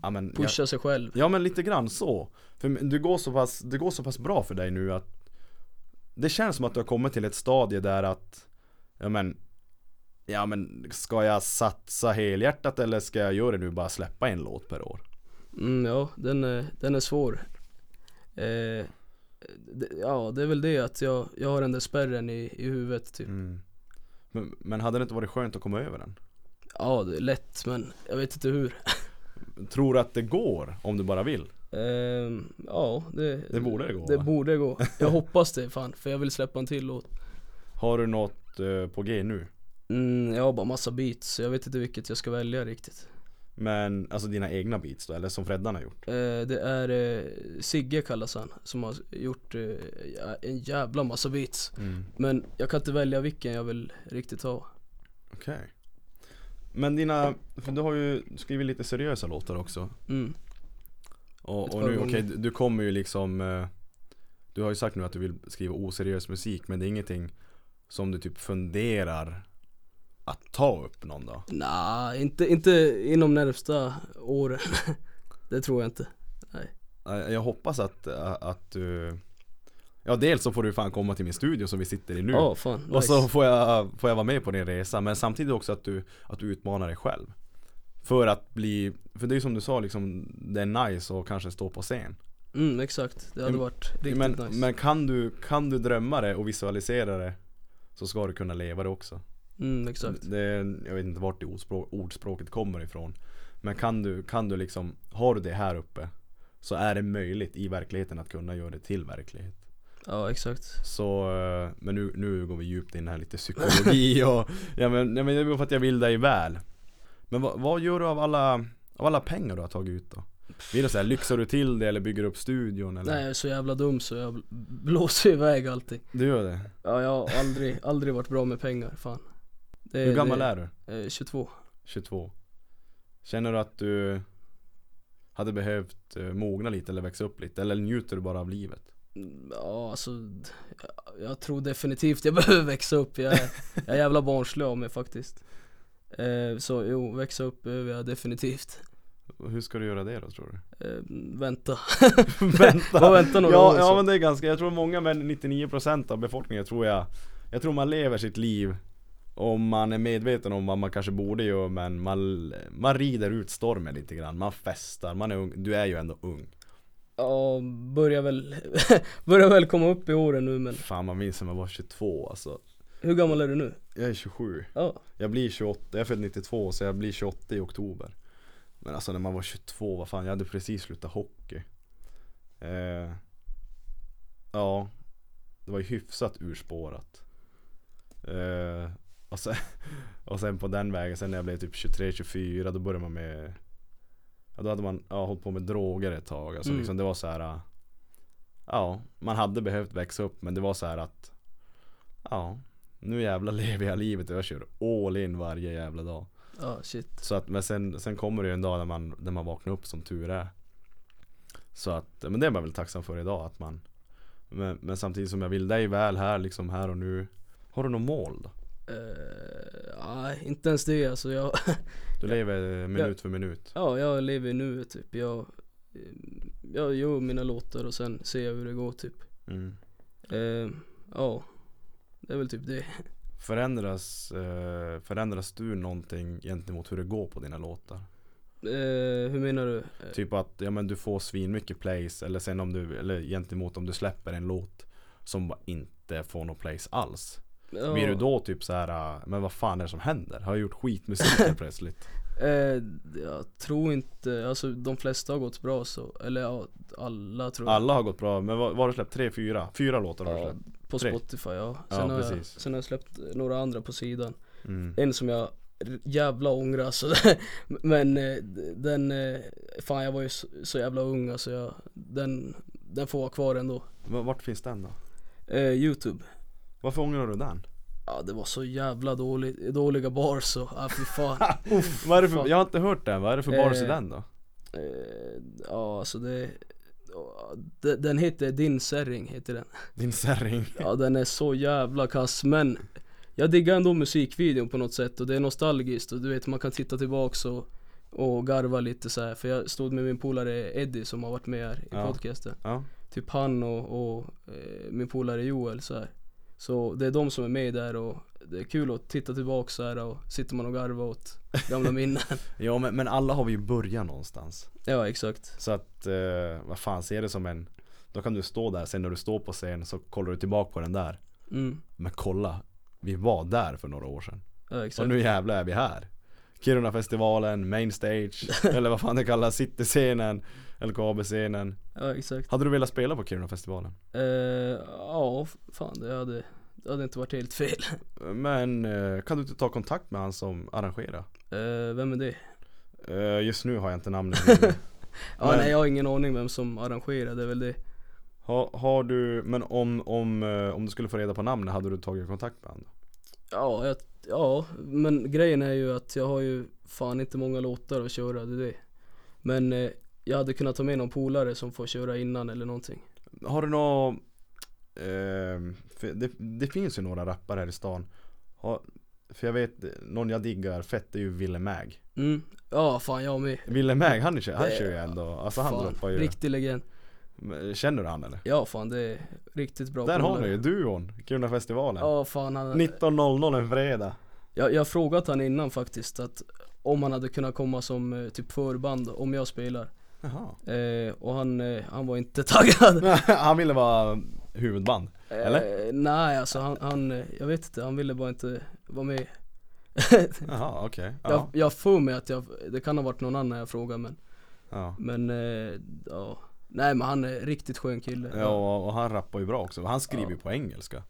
[SPEAKER 1] ja, men, jag-
[SPEAKER 3] Pusha sig själv
[SPEAKER 1] Ja men lite grann så. För det går så pass, det går så pass bra för dig nu att Det känns som att du har kommit till ett stadie där att Ja men Ja men ska jag satsa helhjärtat eller ska jag göra det nu bara släppa en låt per år?
[SPEAKER 3] Mm, ja, den är, den är svår. Eh, det, ja, det är väl det att jag, jag har den där spärren i, i huvudet typ.
[SPEAKER 1] Mm. Men, men hade det inte varit skönt att komma över den?
[SPEAKER 3] Ja, det är lätt men jag vet inte hur.
[SPEAKER 1] Tror du att det går om du bara vill?
[SPEAKER 3] Eh, ja, det,
[SPEAKER 1] Det borde det gå,
[SPEAKER 3] Det
[SPEAKER 1] va?
[SPEAKER 3] borde gå. Jag hoppas det fan, för jag vill släppa en till låt.
[SPEAKER 1] Har du något eh, på G nu?
[SPEAKER 3] Mm, jag har bara massa beats, så jag vet inte vilket jag ska välja riktigt.
[SPEAKER 1] Men alltså dina egna beats då, eller som Freddan har gjort?
[SPEAKER 3] Eh, det är eh, Sigge kallas han, som har gjort eh, ja, en jävla massa beats.
[SPEAKER 1] Mm.
[SPEAKER 3] Men jag kan inte välja vilken jag vill riktigt ha.
[SPEAKER 1] Okej Men dina, för du har ju skrivit lite seriösa låtar också
[SPEAKER 3] Mm. Ett
[SPEAKER 1] Och, och
[SPEAKER 3] par
[SPEAKER 1] nu, okej
[SPEAKER 3] gånger.
[SPEAKER 1] du du kommer ju liksom eh, Du har ju sagt nu att du vill skriva oseriös musik men det är ingenting som du typ funderar att ta upp någon dag?
[SPEAKER 3] Nej, inte, inte inom närmsta åren. det tror jag
[SPEAKER 1] Mm.
[SPEAKER 3] inte.
[SPEAKER 1] Eh, Jag hoppas att, att, du Ja dels så får du fan komma till min studio som vi sitter i nu
[SPEAKER 3] Ja, fan. Nice.
[SPEAKER 1] Och så får jag, får jag vara med på din resa men samtidigt också att du, att du utmanar dig själv För att bli, för det är ju som du sa liksom Det är nice att kanske stå på scen
[SPEAKER 3] Mm, exakt. Det hade
[SPEAKER 1] Men-
[SPEAKER 3] varit riktigt
[SPEAKER 1] men,
[SPEAKER 3] nice.
[SPEAKER 1] men kan du, kan du drömma det och visualisera det så ska du kunna leva det också.
[SPEAKER 3] Mm, exakt.
[SPEAKER 1] Det, jag vet inte vart det ordspråk, ordspråket kommer ifrån. Men kan du, kan du liksom, har du det här uppe så är det möjligt i verkligheten att kunna göra det till verklighet.
[SPEAKER 3] Ja, exakt.
[SPEAKER 1] Så, eh, men nu, nu går vi djupt in här lite psykologi och ja men, ja, men det är bara för att jag vill dig väl. Men vad, vad gör du av alla, av alla pengar du har tagit ut då? Blir det så här, lyxar du till det eller bygger upp studion eller?
[SPEAKER 3] Nej, jag är så jävla dum så jag bl- blåser iväg allting.
[SPEAKER 1] Du gör det?
[SPEAKER 3] Ja, jag har aldrig, aldrig varit bra med pengar, fan. Det,
[SPEAKER 1] Hur gammal är du?
[SPEAKER 3] du? Eh, 22.
[SPEAKER 1] 22 Känner du att du hade behövt eh, mogna lite eller växa upp lite eller njuter du bara av livet?
[SPEAKER 3] Mm, Ja, alltså. d- jag- Jag tror definitivt jag behöver växa upp. Jag är, jag är jävla barnslig av mig faktiskt. Eh, så jo, växa upp behöver jag definitivt.
[SPEAKER 1] Och Hur ska du göra det då tror du?
[SPEAKER 3] Eh, vänta.
[SPEAKER 1] vänta!
[SPEAKER 3] Får vänta några
[SPEAKER 1] ja,
[SPEAKER 3] år
[SPEAKER 1] ja
[SPEAKER 3] så.
[SPEAKER 1] men det är ganska, jag tror många men 99% av befolkningen tror jag Jag tror man lever sitt liv om man är medveten om vad man kanske borde göra men man, man rider ut stormen lite grann, man festar, man är ung, du är ju ändå ung
[SPEAKER 3] Ja, börjar väl, börjar väl komma upp i åren nu men
[SPEAKER 1] Fan man minns när man var 22 alltså
[SPEAKER 3] Hur gammal är du nu?
[SPEAKER 1] Jag är 27
[SPEAKER 3] Ja,
[SPEAKER 1] Jag blir 28, jag är född 92 så jag blir 28 i oktober Men alltså när man var 22, vad fan jag hade precis slutat hockey eh, Ja Det var ju hyfsat urspårat eh, och, sen, och sen på den vägen, sen när jag blev typ 23-24 då började man med ja, Då hade man ja, hållit på med droger ett tag, alltså
[SPEAKER 3] Mm.
[SPEAKER 1] liksom det var så här. Ja, man hade behövt växa upp men det var så här att Ja, nu jävla lever jag livet och jag kör all in varje jävla dag.
[SPEAKER 3] ja shit.
[SPEAKER 1] Så att, men sen, sen kommer det ju en dag när man, när man vaknar upp som tur är. Så att, men det är man väl tacksam för idag att man Men, men samtidigt som jag vill dig väl här liksom här och nu Har du något mål då?
[SPEAKER 3] Eh, nej, inte ens det alltså. Jag,
[SPEAKER 1] Du lever eh, minut för minut.
[SPEAKER 3] ja, jag lever i nuet typ. Jag, eh, jag gör mina låtar och sen ser jag hur det går typ.
[SPEAKER 1] Mm.
[SPEAKER 3] Eh, ja, det är väl typ det.
[SPEAKER 1] Förändras, eh, förändras du någonting gentemot hur det går på dina låtar?
[SPEAKER 3] Eh, hur menar du?
[SPEAKER 1] Typ att ja, men du får svinmycket plays eller sen om du, eller gentemot om du släpper en låt som bara inte får någon plays alls.
[SPEAKER 3] Ja,
[SPEAKER 1] Blir du då typ så här, men vad fan är det som händer? Har jag gjort skitmusik helt plötsligt?
[SPEAKER 3] Eh, jag tror inte, alltså de flesta har gått bra så. Eller ja, alla tror jag.
[SPEAKER 1] Alla har gått bra, men vad, vad har du släppt? Tre, fyra? Fyra låtar har du
[SPEAKER 3] Ja,
[SPEAKER 1] släppt?
[SPEAKER 3] på
[SPEAKER 1] Tre.
[SPEAKER 3] Spotify ja.
[SPEAKER 1] Ja,
[SPEAKER 3] Sen, har jag,
[SPEAKER 1] precis.
[SPEAKER 3] sen har jag släppt några andra på sidan.
[SPEAKER 1] Mm.
[SPEAKER 3] En som jag r- jävla ångrar alltså. Men eh, d- den, eh, fan jag var ju så, så jävla ung alltså. Jag, den, den får vara kvar ändå.
[SPEAKER 1] V- Vart finns den då?
[SPEAKER 3] Eh, Youtube.
[SPEAKER 1] Varför ångrar du den?
[SPEAKER 3] Ja det var så jävla dålig, dåliga bars och, ja fy fan.
[SPEAKER 1] vad är det för,
[SPEAKER 3] fan.
[SPEAKER 1] jag har inte hört den, vad är det för bars i
[SPEAKER 3] Eh,
[SPEAKER 1] den då?
[SPEAKER 3] Eh, ja alltså det, ja, de- den heter Din Särring heter den.
[SPEAKER 1] Din särring
[SPEAKER 3] Ja den är så jävla kass men Jag diggar ändå musikvideon på något sätt och det är nostalgiskt och du vet man kan titta tillbaks och, och garva lite så här. För jag stod med min polare Eddie som har varit med här i
[SPEAKER 1] Ja.
[SPEAKER 3] podcasten
[SPEAKER 1] Ja,
[SPEAKER 3] Typ han och, och eh, min polare Joel så här. Så det är de som är med där och det är kul att titta tillbaks så här och sitter man och garvar åt gamla minnen
[SPEAKER 1] ja men, men alla har vi ju börjat någonstans
[SPEAKER 3] Ja exakt
[SPEAKER 1] Så att, eh, vad fan, ser det som en Då kan du stå där, sen när du står på scen så kollar du tillbaka på den där
[SPEAKER 3] mm.
[SPEAKER 1] Men kolla, vi var där för några år sedan
[SPEAKER 3] Ja
[SPEAKER 1] Och
[SPEAKER 3] exakt
[SPEAKER 1] nu jävlar är vi här Kirunafestivalen, main stage, eller vad fan det kallas, cityscenen, LKAB-scenen
[SPEAKER 3] Ja exakt
[SPEAKER 1] Hade du velat spela på Kirunafestivalen?
[SPEAKER 3] eh, Ja f- fan det hade, det hade inte varit helt fel
[SPEAKER 1] Men eh, kan du inte ta kontakt med han som arrangerar?
[SPEAKER 3] eh, Vem är det?
[SPEAKER 1] Eh, Just nu har jag inte namnet i huvudet.
[SPEAKER 3] Ja
[SPEAKER 1] Men-
[SPEAKER 3] nej jag har ingen aning vem som arrangerade väl det
[SPEAKER 1] ha, Har du, men om, om, eh, om du skulle få reda på namnet, hade du tagit kontakt med honom?
[SPEAKER 3] Ja, jag, ja men grejen är ju att jag har ju fan inte många låtar att köra det är det Men eh, jag hade kunnat ta med någon polare som får köra innan eller någonting
[SPEAKER 1] Har du någon eh, för det, det finns ju några rappare här i stan har, För jag vet, någon jag diggar fett är ju Ville Mag
[SPEAKER 3] Mm, ja fan jag med
[SPEAKER 1] Ville Mag, han, är- han
[SPEAKER 3] Det-
[SPEAKER 1] kör ju ändå, alltså han
[SPEAKER 3] fan,
[SPEAKER 1] droppar ju
[SPEAKER 3] Riktig legend
[SPEAKER 1] Men Känner du han eller?
[SPEAKER 3] Ja fan det är riktigt bra
[SPEAKER 1] Där har
[SPEAKER 3] polare.
[SPEAKER 1] ni ju duon, Kirunafestivalen
[SPEAKER 3] Ja fan han,
[SPEAKER 1] 19.00 en fredag
[SPEAKER 3] jag, jag har frågat han innan faktiskt att om han hade kunnat komma som eh, typ förband om jag spelar
[SPEAKER 1] Jaha
[SPEAKER 3] eh, Och han, eh, han var inte taggad
[SPEAKER 1] Han ville vara huvudband Eller?
[SPEAKER 3] Eh, nej alltså han, han, eh, jag vet inte, han ville bara inte vara med
[SPEAKER 1] Jaha okej
[SPEAKER 3] Jag,
[SPEAKER 1] ja,
[SPEAKER 3] jag får mig att jag, det kan ha varit någon annan jag frågade men,
[SPEAKER 1] ja.
[SPEAKER 3] men eh, ja Nej men han är riktigt skön kille
[SPEAKER 1] ja och, och han rappar ju bra också, han skriver ju på engelska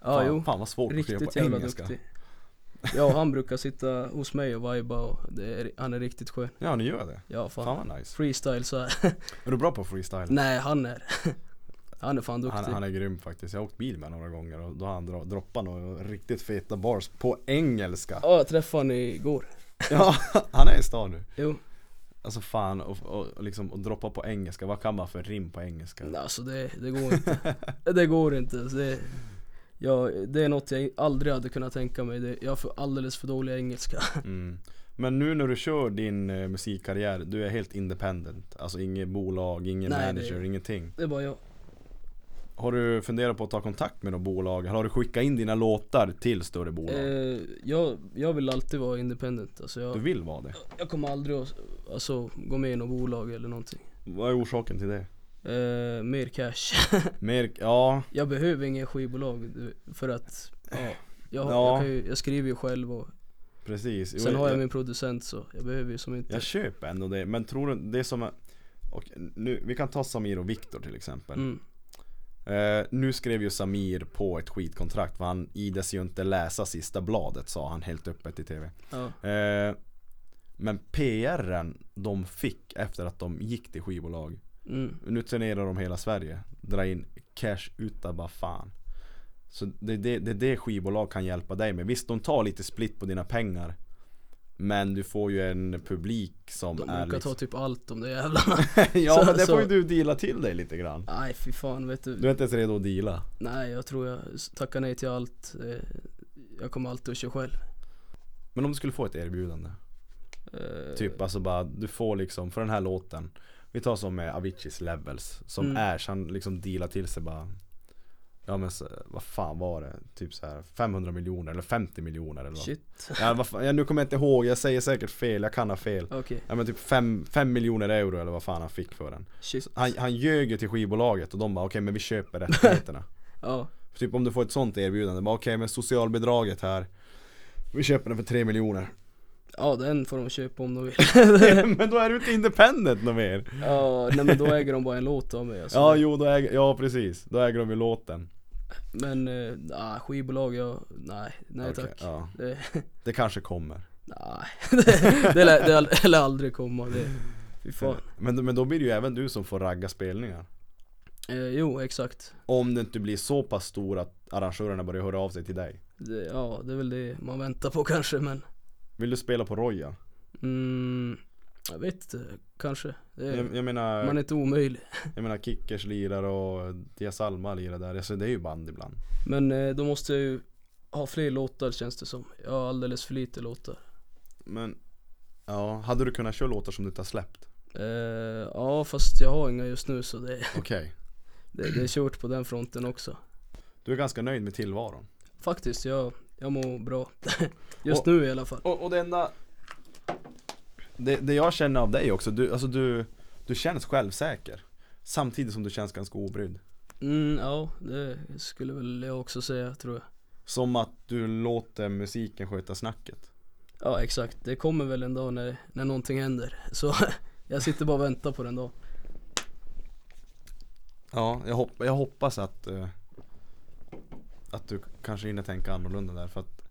[SPEAKER 3] ja
[SPEAKER 1] fan,
[SPEAKER 3] jo,
[SPEAKER 1] fan vad svårt att skriva
[SPEAKER 3] riktigt
[SPEAKER 1] på
[SPEAKER 3] jävla
[SPEAKER 1] engelska
[SPEAKER 3] duktig Ja och han brukar sitta hos mig och vibea och det är, han är riktigt skön
[SPEAKER 1] Ja ni gör det,
[SPEAKER 3] Ja fan,
[SPEAKER 1] fan vad nice
[SPEAKER 3] freestyle så här.
[SPEAKER 1] Är du bra på freestyle?
[SPEAKER 3] Nej han är Han är fan duktig
[SPEAKER 1] Han, han är grym faktiskt, jag har åkt bil med honom några gånger och då har han dro- droppat några riktigt feta bars på engelska
[SPEAKER 3] Ja jag träffade honom igår
[SPEAKER 1] Ja, han är i stan nu
[SPEAKER 3] Jo,
[SPEAKER 1] Alltså fan, och, och, och liksom och droppa på engelska, vad kan man för rim på engelska?
[SPEAKER 3] nej, alltså det, det går inte Det går inte alltså, det, ja, det är något jag aldrig hade kunnat tänka mig det, Jag har för alldeles för dålig engelska
[SPEAKER 1] Mm. Men nu när du kör din eh, musikkarriär, du är helt independent Alltså inget bolag, ingen
[SPEAKER 3] Nej, det-
[SPEAKER 1] manager, ingenting
[SPEAKER 3] Det är bara jag
[SPEAKER 1] Har du funderat på att ta kontakt med något bolag? Eller har du skickat in dina låtar till större bolag?
[SPEAKER 3] Eh, jag, jag vill alltid vara independent, alltså
[SPEAKER 1] Du
[SPEAKER 3] jag,
[SPEAKER 1] vill vara det?
[SPEAKER 3] jag kommer aldrig att alltså, gå med i något bolag eller någonting
[SPEAKER 1] Vad är orsaken till det?
[SPEAKER 3] eh, Mer cash
[SPEAKER 1] Mer, ja,
[SPEAKER 3] Jag behöver ingen skivbolag du- för att, ja, Jag,
[SPEAKER 1] Ja.
[SPEAKER 3] jag, kan ju, jag skriver ju själv och
[SPEAKER 1] Precis. Jo,
[SPEAKER 3] sen har jag
[SPEAKER 1] jag,
[SPEAKER 3] min producent så jag behöver ju som inte
[SPEAKER 1] jag köper ändå det, men tror du det som är och nu, vi kan ta Samir och Viktor till exempel.
[SPEAKER 3] mm.
[SPEAKER 1] Eh, nu skrev ju Samir på ett skitkontrakt för han ides ju inte läsa sista bladet sa han helt öppet i TV.
[SPEAKER 3] ja.
[SPEAKER 1] Eh, men PRen de fick efter att de gick till skivbolag.
[SPEAKER 3] Mm.
[SPEAKER 1] Nu turnerar de hela Sverige. Dra in cash utan bara fan. Så det är det, det, är det skivbolag kan hjälpa dig med. Visst de tar lite split på dina pengar. Men du får ju en publik som
[SPEAKER 3] De
[SPEAKER 1] är
[SPEAKER 3] brukar ta
[SPEAKER 1] liksom...
[SPEAKER 3] typ allt om de där jävlarna
[SPEAKER 1] Ja
[SPEAKER 3] så-
[SPEAKER 1] men det
[SPEAKER 3] så-
[SPEAKER 1] får ju du deala till dig lite grann.
[SPEAKER 3] Nej fy fan vet du
[SPEAKER 1] Du är inte ens redo att deala.
[SPEAKER 3] Nej jag tror jag tackar nej till allt Eh, Jag kommer alltid att köra själv
[SPEAKER 1] Men om du skulle få ett erbjudande.
[SPEAKER 3] Eh,
[SPEAKER 1] Typ alltså bara, du får liksom för den här låten Vi tar som med Aviciis Levels Som
[SPEAKER 3] Mm.
[SPEAKER 1] Ash, han liksom dealar till sig bara Ja men så, vad fan var det? Typ så här 500 miljoner eller 50 miljoner eller vad?
[SPEAKER 3] Shit
[SPEAKER 1] Ja, vad fan, ja, nu kommer jag inte ihåg, jag säger säkert fel, jag kan ha fel
[SPEAKER 3] Okej
[SPEAKER 1] Ja men typ 5 miljoner euro eller vad fan han fick för den
[SPEAKER 3] Shit
[SPEAKER 1] Han, han ljög ju till skivbolaget och de bara okej men vi köper rättigheterna
[SPEAKER 3] Ja
[SPEAKER 1] Typ om du får ett sånt erbjudande, bara okej men socialbidraget här Vi köper den för 3 miljoner
[SPEAKER 3] Ja den får de köpa om de vill
[SPEAKER 1] Men då är du inte independent något mer
[SPEAKER 3] Ja nej men då äger de bara en låt av mig alltså.
[SPEAKER 1] Ja jo, då äger, ja precis, då äger de ju låten
[SPEAKER 3] Men eh, nah, skivbolag jag, nej, nej
[SPEAKER 1] Okej,
[SPEAKER 3] tack
[SPEAKER 1] ja.
[SPEAKER 3] Det,
[SPEAKER 1] Det kanske kommer
[SPEAKER 3] nej, det, det, lär, det lär- lär aldrig komma det, fy fan
[SPEAKER 1] men, men då blir det ju även du som får ragga spelningar
[SPEAKER 3] eh, Jo exakt
[SPEAKER 1] Om du inte blir så pass stor att arrangörerna börjar höra av sig till dig
[SPEAKER 3] det, Ja det är väl det man väntar på kanske men
[SPEAKER 1] Vill du spela på Royal?
[SPEAKER 3] mm, Jag vet inte, kanske det, är-
[SPEAKER 1] Jag, jag menar,
[SPEAKER 3] Eh, Man är inte omöjlig
[SPEAKER 1] jag menar Kickers lirar och Dia Salma lirar där, alltså, det är ju band ibland
[SPEAKER 3] Men eh, då måste jag ju ha fler låtar känns det som Jag har alldeles för lite låtar
[SPEAKER 1] Men, ja, hade du kunnat köra låtar som du inte har släppt?
[SPEAKER 3] eh, Ja fast jag har inga just nu så det,
[SPEAKER 1] Okej
[SPEAKER 3] det, det är kört på den fronten också
[SPEAKER 1] Du är ganska nöjd med tillvaron
[SPEAKER 3] Faktiskt, jag, jag mår bra. Just
[SPEAKER 1] Och-
[SPEAKER 3] nu i alla fall.
[SPEAKER 1] Och, och det enda det, det jag känner av dig också, du, alltså du, du känns självsäker Samtidigt som du känns ganska obrydd
[SPEAKER 3] Mm, ja, det skulle väl jag också säga tror jag.
[SPEAKER 1] Som att du låter musiken sköta snacket
[SPEAKER 3] Ja, exakt. Det kommer väl en dag när, när någonting händer. Så jag sitter bara och väntar på den dagen.
[SPEAKER 1] Ja, jag, hopp, jag hoppas att eh, Att du kanske hinner tänka annorlunda där för att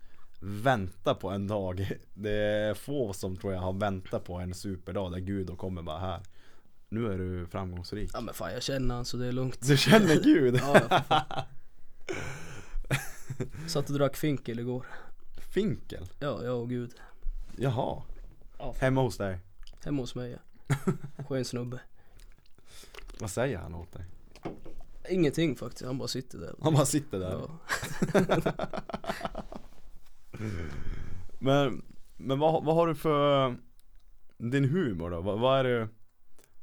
[SPEAKER 1] Vänta på en dag Det är få som tror jag har väntat på en superdag där Gud och kommer bara här Nu är du framgångsrik
[SPEAKER 3] Ja, men fan jag känner han så det är lugnt.
[SPEAKER 1] Du känner Gud?
[SPEAKER 3] Ja, ja, för fan. Satt och drack finkel igår.
[SPEAKER 1] Finkel?
[SPEAKER 3] Ja, jag och Gud.
[SPEAKER 1] Jaha
[SPEAKER 3] Ja.
[SPEAKER 1] Hemma hos dig?
[SPEAKER 3] Hemma hos mig ja. Skön snubbe.
[SPEAKER 1] Vad säger han åt dig?
[SPEAKER 3] Ingenting faktiskt, han bara sitter där.
[SPEAKER 1] Han bara sitter där
[SPEAKER 3] Ja.
[SPEAKER 1] Men, men vad, vad har du för eh, Din humor då? Vad, vad är det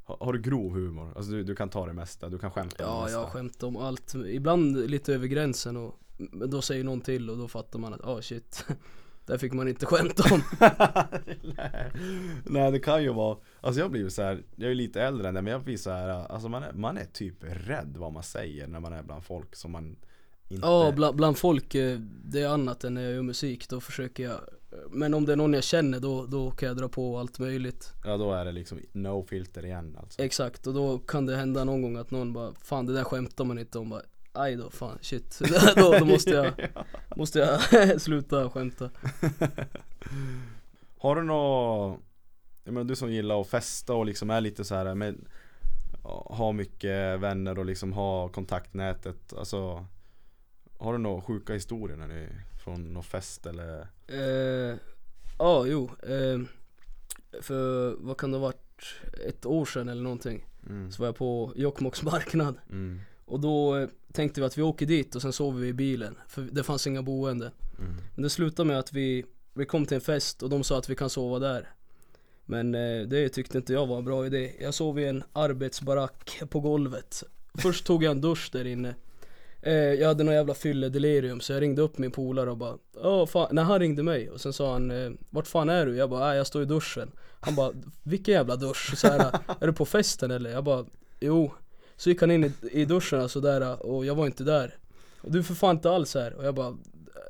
[SPEAKER 1] har, har du grov humor? Alltså du, du kan ta det mesta, du kan skämta om det
[SPEAKER 3] Ja,
[SPEAKER 1] mesta.
[SPEAKER 3] jag skämtar om allt. Ibland lite över gränsen och men då säger någon till och då fattar man att ah shit, där fick man inte skämta om.
[SPEAKER 1] Nej. Nej det kan ju vara Alltså jag blir ju så här, jag är lite äldre än det men jag blir så här, Alltså man är, man är typ rädd vad man säger när man är bland folk som man inte
[SPEAKER 3] Ja, bland, bland folk, eh, det är annat än när jag gör musik. Då försöker jag, men om det är någon jag känner då, då kan jag dra på allt möjligt.
[SPEAKER 1] Ja då är det liksom no filter igen alltså
[SPEAKER 3] Exakt, och då kan det hända någon gång att någon bara fan det där skämtar man inte om. Bara, Aj då, fan shit. då, då måste jag, måste jag sluta skämta.
[SPEAKER 1] Har du något Jag menar du som gillar att festa och liksom är lite så här med Ha mycket vänner och liksom ha kontaktnätet Alltså Har du några sjuka historier när ni Från någon fest eller
[SPEAKER 3] Eh, ja, jo. Eh, för vad kan det ha varit? Ett år sedan eller någonting.
[SPEAKER 1] mm.
[SPEAKER 3] Så var jag på Jokkmokks marknad.
[SPEAKER 1] Mm.
[SPEAKER 3] Och då eh, tänkte vi att vi åker dit och sen sover vi i bilen. För det fanns inga boende.
[SPEAKER 1] Mm.
[SPEAKER 3] Men det slutade med att vi, vi kom till en fest och de sa att vi kan sova där. Men eh, det tyckte inte jag var en bra idé. Jag sov i en arbetsbarack på golvet. Först tog jag en dusch där inne. Eh, jag hade någon jävla fylledelirium så jag ringde upp min polare och bara Åh fan, när han ringde mig och sen sa han eh, Vart fan är du? Jag bara, äh, jag står i duschen Han bara, vilken jävla dusch? Så här, är du på festen eller? Jag bara, jo Så gick han in i, i duschen och sådär och jag var inte där Och du är för fan inte alls här och jag bara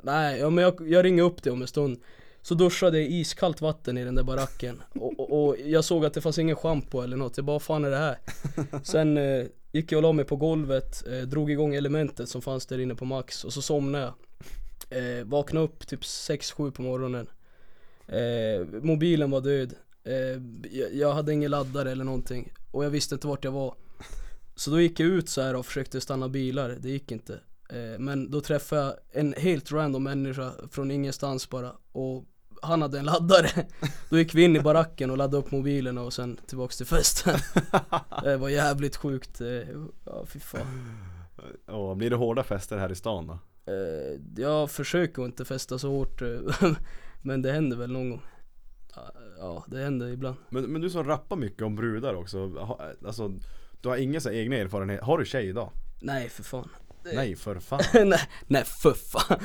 [SPEAKER 3] nej, ja, men jag, jag ringer upp dig om en stund Så duschade jag i iskallt vatten i den där baracken och, och, och jag såg att det fanns ingen schampo eller något, jag bara "Vad fan är det här? Sen eh, gick jag och la mig på golvet, eh, drog igång elementet som fanns där inne på max och så somnade jag eh, Vaknade upp typ 6-7 på morgonen eh, Mobilen var död eh, jag, jag hade ingen laddare eller någonting och jag visste inte vart jag var så då gick jag ut så här och försökte stanna bilar, det gick inte. Eh, Men då träffade jag en helt random människa från ingenstans bara och han hade en laddare. Då gick vi in i baracken och laddade upp mobilerna och sen tillbaks till festen. Det var jävligt sjukt. eh, Ja, fy fan.
[SPEAKER 1] Åh, blir det hårda fester här i stan då?
[SPEAKER 3] Eh, Jag försöker att inte festa så hårt eh, men det händer väl någon gång. Ja, det händer ibland.
[SPEAKER 1] Men, men du som rappar mycket om brudar också, ha- alltså du har ingen så här egna erfarenhet, har du tjej idag?
[SPEAKER 3] Nej, för fan.
[SPEAKER 1] Nej för fan,
[SPEAKER 3] nej, nej, för fan.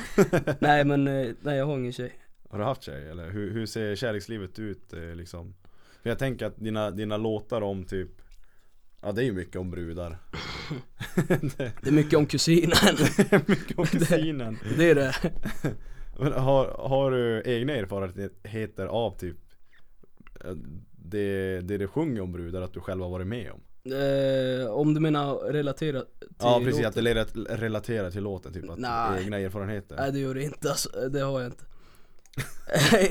[SPEAKER 3] nej, men eh, nej, jag har ingen tjej.
[SPEAKER 1] har du haft tjej eller? Hur, hur ser kärlekslivet ut eh, liksom? För jag tänker att dina, dina låtar om typ, ja det är ju mycket om brudar
[SPEAKER 3] Det är mycket om kusinen.
[SPEAKER 1] Mycket om kusinen
[SPEAKER 3] Det är det.
[SPEAKER 1] Men har, har du egna erfarenheter av typ eh, det, det du sjunger om brudar, att du själv har varit med om?
[SPEAKER 3] Eh, om du menar relatera till
[SPEAKER 1] Ja precis,
[SPEAKER 3] låten?
[SPEAKER 1] att det relat- relaterar till låten typ, att
[SPEAKER 3] Nej.
[SPEAKER 1] egna erfarenheter
[SPEAKER 3] Nej det gör det inte alltså, det har jag inte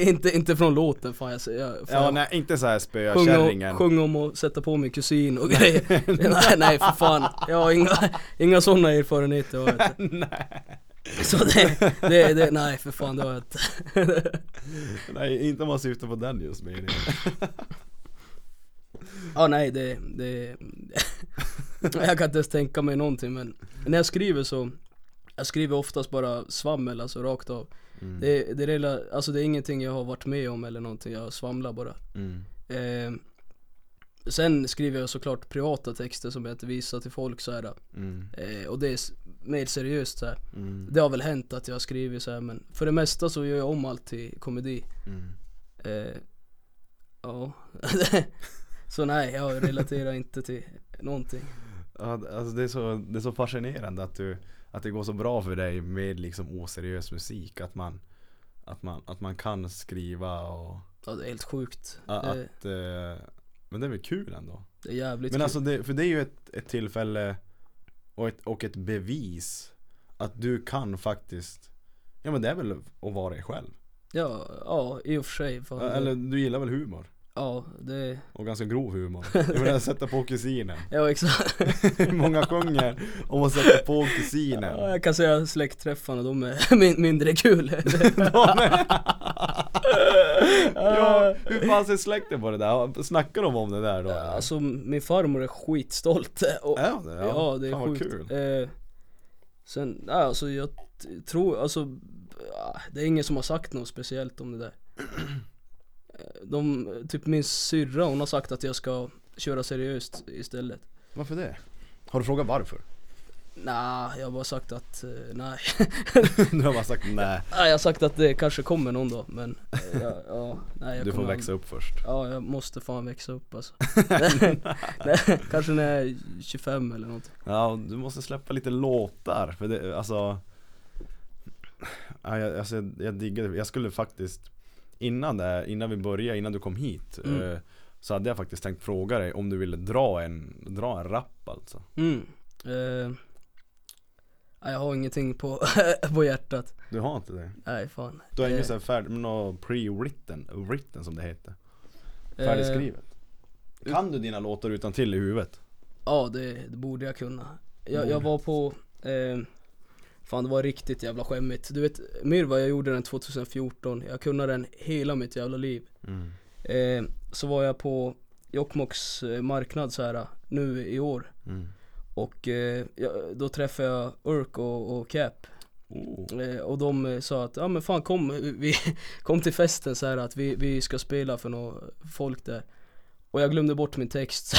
[SPEAKER 3] inte, inte från låten fan jag säger
[SPEAKER 1] Ja nej inte såhär spöa
[SPEAKER 3] sjung,
[SPEAKER 1] kärringen
[SPEAKER 3] om, sjung om och sätta på min kusin och grejer Nej nej för fan, jag har inga, inga sådana erfarenheter har jag inte Så det, det, det, nej för fan det har jag inte
[SPEAKER 1] Nej inte om man syftar på den just med
[SPEAKER 3] Ja nej det, det Jag kan inte ens tänka mig någonting men När jag skriver så Jag skriver oftast bara svammel alltså rakt av det, det, är, rela- alltså, det är ingenting jag har varit med om eller någonting, jag svamlar bara
[SPEAKER 1] mm.
[SPEAKER 3] eh, Sen skriver jag såklart privata texter som jag inte visar till folk så här.
[SPEAKER 1] Mm.
[SPEAKER 3] Eh, och det är s- mer seriöst så här.
[SPEAKER 1] Mm.
[SPEAKER 3] Det har väl hänt att jag har skrivit så här, men för det mesta så gör jag om allt till komedi
[SPEAKER 1] Mm.
[SPEAKER 3] Eh, ja. så nej, jag relaterar inte till någonting.
[SPEAKER 1] Ja, Alltså det är, så, det är så fascinerande att, du, att det går så bra för dig med liksom oseriös musik att man, att man, att man kan skriva och
[SPEAKER 3] Ja, det är helt sjukt.
[SPEAKER 1] Ja,
[SPEAKER 3] det,
[SPEAKER 1] att, eh, men det är väl kul ändå?
[SPEAKER 3] det är jävligt
[SPEAKER 1] Men
[SPEAKER 3] kul.
[SPEAKER 1] alltså det, för det är ju ett, ett tillfälle och ett, och ett bevis att du kan faktiskt Ja men det är väl att vara dig själv?
[SPEAKER 3] Ja, ja, i och för sig. Fan, det-
[SPEAKER 1] Eller du gillar väl humor?
[SPEAKER 3] Ja, det,
[SPEAKER 1] Och ganska grov humor. Jag menar sätta på kusinen.
[SPEAKER 3] ja exakt.
[SPEAKER 1] Hur många sjunger om att sätta på
[SPEAKER 3] Ja,
[SPEAKER 1] kusinen?
[SPEAKER 3] jag kan säga släktträffarna, de är min, mindre kul.
[SPEAKER 1] ja, hur fan ser släkten på det där? Snackar de om det där då? eller?
[SPEAKER 3] alltså min farmor är skitstolt. Och,
[SPEAKER 1] Är de det?
[SPEAKER 3] ja, det är
[SPEAKER 1] fan vad
[SPEAKER 3] sjukt.
[SPEAKER 1] kul.
[SPEAKER 3] Eh, sen, nej, alltså jag t- tror, alltså ah, det är ingen som har sagt något speciellt om det där. Eh, De, typ min syrra hon har sagt att jag ska köra seriöst istället.
[SPEAKER 1] Varför det? Har du frågat varför?
[SPEAKER 3] Nej, jag har bara sagt att, eh, nej.
[SPEAKER 1] Du har bara sagt nej.
[SPEAKER 3] Nej, jag har sagt att det kanske kommer någon dag men, eh, ja, ja, nej jag
[SPEAKER 1] Du får
[SPEAKER 3] kommer
[SPEAKER 1] växa upp först.
[SPEAKER 3] Ja, jag måste fan växa upp alltså. Nej, Kanske när jag är 25 eller något.
[SPEAKER 1] Ja, och du måste släppa lite låtar för det, alltså ja, jag, alltså, jag, jag diggar det. Jag skulle faktiskt Innan det, här- innan vi började, innan du kom hit
[SPEAKER 3] Mm.
[SPEAKER 1] eh, Så hade jag faktiskt tänkt fråga dig om du ville dra en, dra en rap alltså
[SPEAKER 3] Mm. Eh, nej, jag har ingenting på, på hjärtat.
[SPEAKER 1] Du har inte det?
[SPEAKER 3] Nej fan.
[SPEAKER 1] Du har
[SPEAKER 3] Eh,
[SPEAKER 1] ingen sån här färdig, någon pre-written, written som det heter
[SPEAKER 3] eh,
[SPEAKER 1] Färdigskrivet Kan du dina låtar utan till i huvudet?
[SPEAKER 3] Ja det, det borde jag kunna. Jag, jag
[SPEAKER 1] Borde.
[SPEAKER 3] var på, eh, fan det var riktigt jävla skämmigt. Du vet Myrva jag gjorde den 2014, jag kunde den hela mitt jävla liv.
[SPEAKER 1] Mm.
[SPEAKER 3] Eh, så var jag på Jokkmokks eh, marknad så här nu i år.
[SPEAKER 1] Mm.
[SPEAKER 3] Och eh, jag, då träffade jag Urk och, och Cap
[SPEAKER 1] Oh.
[SPEAKER 3] eh, Och de eh, sa att, ja men fan kom, vi, kom till festen så här att vi, vi ska spela för några folk där Och jag glömde bort min text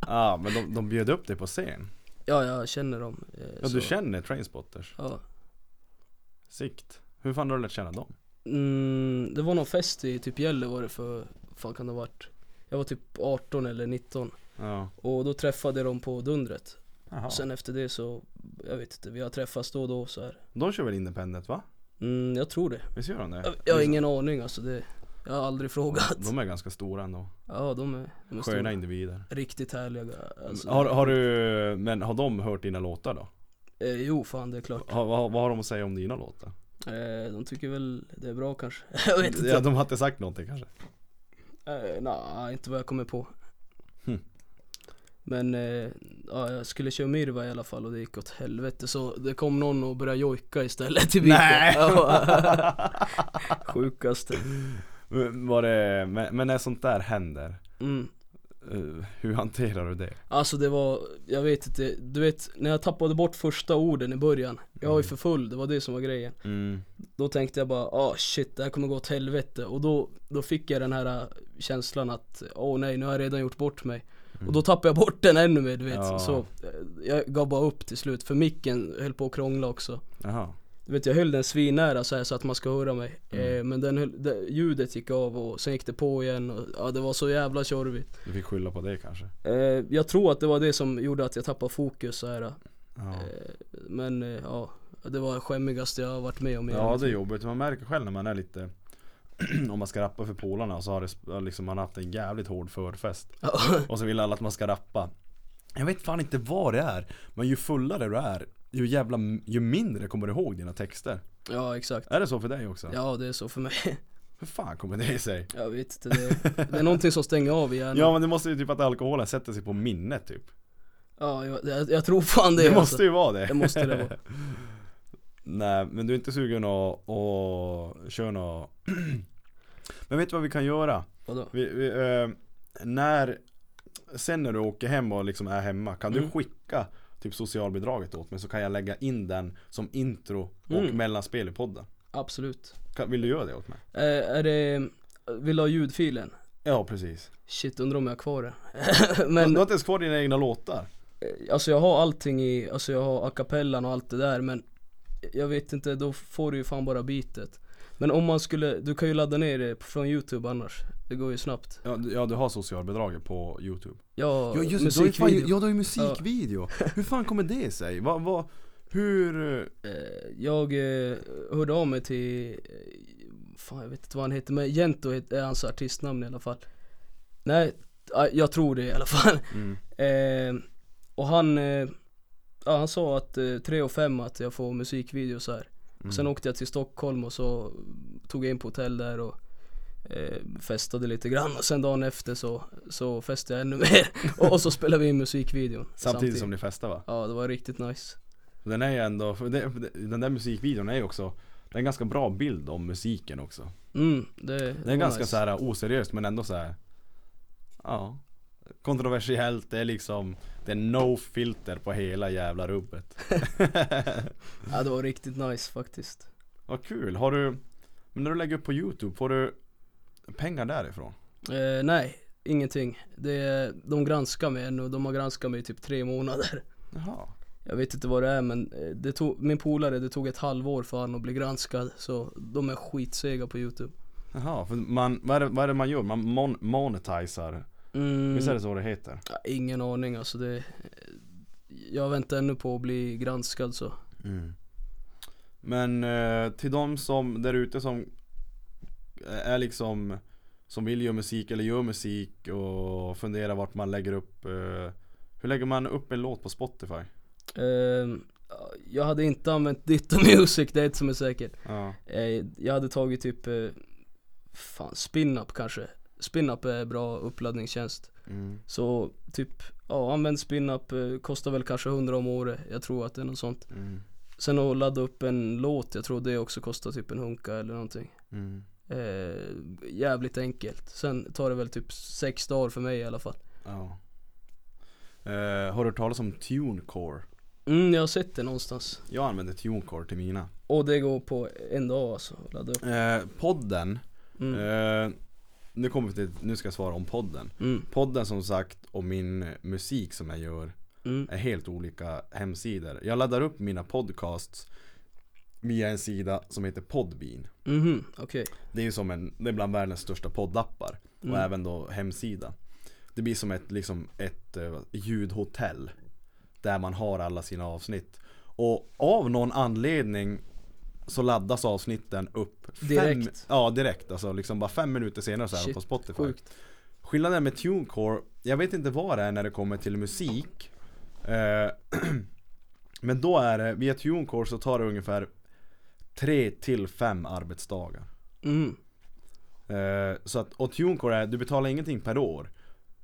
[SPEAKER 1] Ah, men de, de bjöd upp dig på scen
[SPEAKER 3] Ja jag känner dem eh,
[SPEAKER 1] Ja
[SPEAKER 3] så-
[SPEAKER 1] du känner Trainspotters
[SPEAKER 3] ja.
[SPEAKER 1] Sikt Hur fan har du lärt känna dem?
[SPEAKER 3] mm, Det var någon fest i typ Gällivare för, fan kan det ha varit? Jag var typ 18 eller 19
[SPEAKER 1] Ja
[SPEAKER 3] Och då träffade jag dem på Dundret
[SPEAKER 1] Jaha.
[SPEAKER 3] Sen efter det så jag vet inte, vi har träffats då och då så här.
[SPEAKER 1] De kör väl independent va?
[SPEAKER 3] Mm, jag tror det.
[SPEAKER 1] Visst gör de det?
[SPEAKER 3] Jag, jag har ingen aning alltså, det, jag har aldrig frågat.
[SPEAKER 1] De är ganska stora ändå.
[SPEAKER 3] Ja de är, de
[SPEAKER 1] Sköna
[SPEAKER 3] är stora.
[SPEAKER 1] individer.
[SPEAKER 3] Riktigt härliga alltså,
[SPEAKER 1] Har, har du, men har de hört dina låtar då?
[SPEAKER 3] eh, Jo fan det är klart.
[SPEAKER 1] Har, vad, vad har de att säga om dina låtar?
[SPEAKER 3] Eh, de tycker väl det är bra kanske. jag vet inte.
[SPEAKER 1] Ja, de har inte sagt någonting kanske?
[SPEAKER 3] Eh, Nej, inte vad jag kommer på.
[SPEAKER 1] Hmm.
[SPEAKER 3] Men eh, ja, jag skulle köra Mirva i alla fall och det gick åt helvete så det kom någon och började jojka istället i bilen.
[SPEAKER 1] Nej.
[SPEAKER 3] Ja. Sjukaste.
[SPEAKER 1] Var det, men, men när sånt där händer,
[SPEAKER 3] Mm.
[SPEAKER 1] eh, hur hanterar du det?
[SPEAKER 3] Alltså det var, jag vet inte, du vet när jag tappade bort första orden i början. Jag
[SPEAKER 1] Mm.
[SPEAKER 3] var ju för full, det var det som var grejen. Då tänkte jag bara, ah shit det här kommer gå åt helvete och då, då fick jag den här äh, känslan att, åh nej nu har jag redan gjort bort mig Och då tappade jag bort den ännu mer du vet,
[SPEAKER 1] Mm. Ja.
[SPEAKER 3] så äh, jag gav bara upp till slut för micken höll på att krångla också
[SPEAKER 1] Jaha.
[SPEAKER 3] Du vet jag höll den svinnära så här så att man ska höra mig
[SPEAKER 1] Mm.
[SPEAKER 3] eh, Men den höll, det, ljudet gick av och sen gick det på igen och ja, det var så jävla tjorvigt
[SPEAKER 1] Du fick skylla på det kanske?
[SPEAKER 3] eh, Jag tror att det var det som gjorde att jag tappade fokus så här. äh.
[SPEAKER 1] Ja.
[SPEAKER 3] Eh, Men eh, ja, det var det skämmigaste jag har varit med om i hela
[SPEAKER 1] Ja
[SPEAKER 3] mitt
[SPEAKER 1] det är jobbigt, man märker själv när man är lite Om man ska rappa för polarna så har det, sp- liksom, man har haft en jävligt hård förfest
[SPEAKER 3] Ja.
[SPEAKER 1] Och så vill alla att man ska rappa Jag vet fan inte vad det är Men ju fullare du är Ju jävla, ju mindre kommer du ihåg dina texter
[SPEAKER 3] Ja exakt.
[SPEAKER 1] Är det så för dig också?
[SPEAKER 3] Ja det är så för mig.
[SPEAKER 1] Hur fan kommer det sig?
[SPEAKER 3] Jag vet inte, det, det är någonting som stänger av i hjärnan.
[SPEAKER 1] Ja
[SPEAKER 3] Ja,
[SPEAKER 1] men det måste ju typ att alkoholen sätter sig på minnet typ
[SPEAKER 3] jag, jag, jag tror fan det.
[SPEAKER 1] Det
[SPEAKER 3] alltså.
[SPEAKER 1] måste ju vara det
[SPEAKER 3] det måste det vara.
[SPEAKER 1] Nej men du är inte sugen att, att köra något Men vet du vad vi kan göra?
[SPEAKER 3] Vadå?
[SPEAKER 1] Vi, vi, eh, när, sen när du åker hem och liksom är hemma, kan
[SPEAKER 3] Mm.
[SPEAKER 1] du skicka typ socialbidraget åt mig så kan jag lägga in den som intro och
[SPEAKER 3] Mm.
[SPEAKER 1] mellanspel i podden?
[SPEAKER 3] Absolut.
[SPEAKER 1] Kan, vill du göra det åt mig?
[SPEAKER 3] Eh, är det, vill du ha ljudfilen?
[SPEAKER 1] Ja precis.
[SPEAKER 3] Shit, undrar om jag har kvar det.
[SPEAKER 1] Men, du
[SPEAKER 3] men
[SPEAKER 1] har inte ens kvar dina egna låtar?
[SPEAKER 3] eh, alltså jag har allting i, alltså jag har a cappellan och allt det där men jag vet inte, då får du ju fan bara bitet. Men om man skulle, du kan ju ladda ner det från youtube annars. Det går ju snabbt.
[SPEAKER 1] Ja du, ja, du har socialbidraget på youtube.
[SPEAKER 3] Ja,
[SPEAKER 1] du har ju fan-
[SPEAKER 3] musikvideo.
[SPEAKER 1] ja, du har ju musikvideo. Hur fan kommer det sig? Va, va, hur? eh,
[SPEAKER 3] Eh, Jag eh, hörde av mig till, eh, fan jag vet inte vad han heter men Jento het- är hans artistnamn i alla fall Nej, ja, jag tror det i alla fall
[SPEAKER 1] Mm.
[SPEAKER 3] eh, Och han, eh, ja, han sa att eh, 3 och 5 att jag får musikvideos här
[SPEAKER 1] Mm.
[SPEAKER 3] Sen åkte jag till Stockholm och så tog jag in på hotell där och eh, festade lite grann och sen dagen efter så, så festade jag ännu mer och, och så spelade vi in musikvideon
[SPEAKER 1] Samtidigt som ni festar va?
[SPEAKER 3] Ja det var riktigt nice
[SPEAKER 1] Den är ju ändå, för det, den där musikvideon är ju också Det är en ganska bra bild om musiken också
[SPEAKER 3] Mm, det, det
[SPEAKER 1] Det är ganska så här eh, oseriöst men ändå så här. Ja Kontroversiellt, det är liksom Det är no filter på hela jävla rubbet
[SPEAKER 3] Ja det var riktigt nice faktiskt
[SPEAKER 1] Vad kul, har du Men när du lägger upp på youtube, får du pengar därifrån?
[SPEAKER 3] eh, Nej, ingenting det, De granskar mig ännu, de har granskat mig i typ tre månader
[SPEAKER 1] Jaha
[SPEAKER 3] Jag vet inte vad det är men eh, det tog, min polare det tog ett halvår för han att bli granskad Så de är skitsega på youtube
[SPEAKER 1] Jaha, för man, vad är det, vad är det man gör? Man mon- monetiserar
[SPEAKER 3] mm,
[SPEAKER 1] Visst är det så det heter?
[SPEAKER 3] ja, Ingen aning alltså det Jag väntar ännu på att bli granskad så
[SPEAKER 1] Mm. Men eh, till de som där ute som är liksom som vill göra musik eller gör musik och funderar vart man lägger upp eh, Hur lägger man upp en låt på Spotify?
[SPEAKER 3] eh, Jag hade inte använt Ditto Music, det är ett som är säkert
[SPEAKER 1] Ja,
[SPEAKER 3] Eh, Jag hade tagit typ, eh, fan spin-up kanske Spin-up är bra uppladdningstjänst
[SPEAKER 1] mm.
[SPEAKER 3] Så typ, ja använd spin-up, eh, kostar väl kanske 100 om året Jag tror att det är något sånt
[SPEAKER 1] Mm.
[SPEAKER 3] Sen att ladda upp en låt, jag tror det också kostar typ en hunka eller någonting
[SPEAKER 1] Mm.
[SPEAKER 3] eh, Jävligt enkelt Sen tar det väl typ sex dagar för mig i alla fall
[SPEAKER 1] ja. Eh, Har du hört talas om Tunecore?
[SPEAKER 3] Mm, jag har sett det någonstans
[SPEAKER 1] Jag använder Tunecore till mina
[SPEAKER 3] Och det går på en dag alltså, att ladda upp
[SPEAKER 1] eh, Podden
[SPEAKER 3] mm.
[SPEAKER 1] eh, nu, kommer vi till, nu ska jag svara om podden
[SPEAKER 3] Mm,
[SPEAKER 1] Podden som sagt och min musik som jag gör
[SPEAKER 3] mm,
[SPEAKER 1] är helt olika hemsidor. Jag laddar upp mina podcasts via en sida som heter Podbean.
[SPEAKER 3] mhm, okej
[SPEAKER 1] Det är ju som en, det är bland världens största poddappar.
[SPEAKER 3] Mm.
[SPEAKER 1] Och även då hemsida. Det blir som ett, liksom ett eh, ljudhotell. Där man har alla sina avsnitt. Och av någon anledning så laddas avsnitten upp fem-
[SPEAKER 3] Direkt.
[SPEAKER 1] Ja direkt, alltså liksom bara fem minuter senare så här
[SPEAKER 3] Shit,
[SPEAKER 1] på Spotify
[SPEAKER 3] Sjukt.
[SPEAKER 1] Skillnaden med TuneCore, jag vet inte vad det är när det kommer till musik eh, Men då är det, via TuneCore så tar det ungefär 3 till 5 arbetsdagar
[SPEAKER 3] Mm.
[SPEAKER 1] eh, Så att, och TuneCore är, du betalar ingenting per år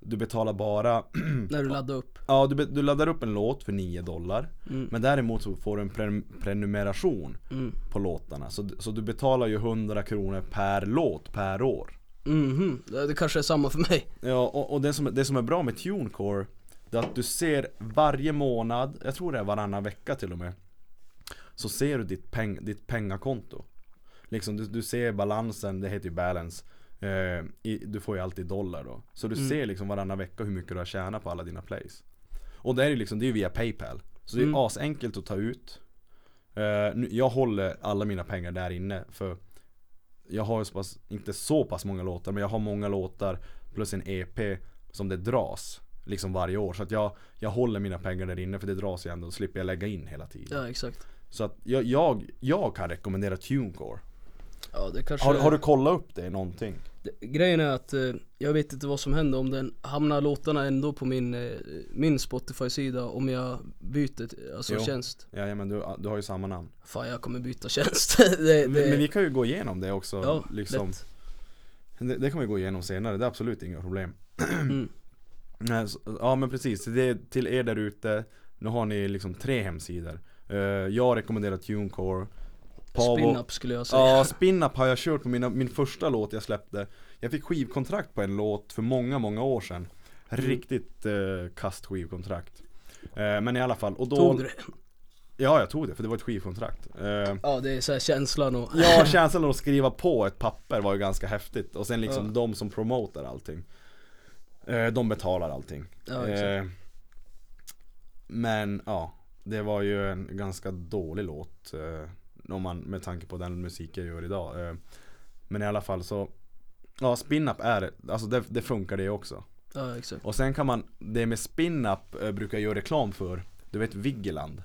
[SPEAKER 1] Du betalar bara,
[SPEAKER 3] När du laddar upp.
[SPEAKER 1] ja du, be- du laddar upp en låt för 9 dollar
[SPEAKER 3] Mm.
[SPEAKER 1] Men däremot så får du en prenum- prenumeration
[SPEAKER 3] Mm.
[SPEAKER 1] på låtarna så, så du betalar ju 100 kronor per låt per år
[SPEAKER 3] Mhm. Det det kanske är samma för mig.
[SPEAKER 1] Ja, och, och det, som, det som är bra med TuneCore Det är att du ser varje månad, jag tror det är varannan vecka till och med Så ser du ditt, peng, ditt pengakonto Liksom du, du ser balansen, det heter ju balance eh, i, Du får ju alltid dollar då Så
[SPEAKER 3] Mm.
[SPEAKER 1] du ser liksom varannan vecka hur mycket du har tjänat på alla dina plays Och det är ju liksom, det är ju via Paypal Så det är
[SPEAKER 3] Mm.
[SPEAKER 1] asenkelt att ta ut Eh, nu, Jag håller alla mina pengar där inne för jag har ju så pass, inte så pass många låtar men jag har många låtar plus en EP som det dras liksom varje år. Så att jag, jag håller mina pengar där inne för det dras ju ändå och slipper jag lägga in hela tiden.
[SPEAKER 3] Ja exakt.
[SPEAKER 1] Så att jag, jag, jag kan rekommendera TuneCore.
[SPEAKER 3] Ja, det kanske
[SPEAKER 1] Har,
[SPEAKER 3] är-
[SPEAKER 1] har du kollat upp det någonting?
[SPEAKER 3] Det- Grejen är att eh, jag vet inte vad som händer om den hamnar låtarna ändå på min, eh, min Spotify-sida om jag byter t- alltså,
[SPEAKER 1] Jo.
[SPEAKER 3] tjänst.
[SPEAKER 1] Ja, men du, du har ju samma namn.
[SPEAKER 3] Fan jag kommer byta tjänst. det, det,
[SPEAKER 1] Men, men vi kan ju gå igenom det också.
[SPEAKER 3] Eh, ja,
[SPEAKER 1] liksom.
[SPEAKER 3] lätt.
[SPEAKER 1] det, det kan vi gå igenom senare, det är absolut inga problem.
[SPEAKER 3] Mm.
[SPEAKER 1] Nej, så- Ja men precis, det är till er där ute Nu har ni liksom tre hemsidor Eh, Jag rekommenderar TuneCore Pavo-
[SPEAKER 3] Spin-up skulle jag säga.
[SPEAKER 1] Ja, Spin-Up har jag kört på mina, min första låt jag släppte Jag fick skivkontrakt på en låt för många, många år sedan
[SPEAKER 3] Mm.
[SPEAKER 1] Riktigt eh, kast skivkontrakt Eh, Men i alla fall, och då
[SPEAKER 3] Tog du det?
[SPEAKER 1] Ja jag tog det, för det var ett skivkontrakt Eh,
[SPEAKER 3] Ja det är så här känslan och
[SPEAKER 1] Ja, känslan av att skriva på ett papper var ju ganska häftigt och sen liksom
[SPEAKER 3] Ja.
[SPEAKER 1] de som promotar allting eh, De betalar allting
[SPEAKER 3] Ja,
[SPEAKER 1] Eh,
[SPEAKER 3] exakt.
[SPEAKER 1] Men ja, det var ju en ganska dålig låt eh, om man, Med tanke på den musik jag gör idag eh, Men i alla fall så Ja, spin-up är alltså det, det funkar det också
[SPEAKER 3] ja exakt.
[SPEAKER 1] Och sen kan man, det med spin-up eh, brukar jag göra reklam för Du vet Vigeland?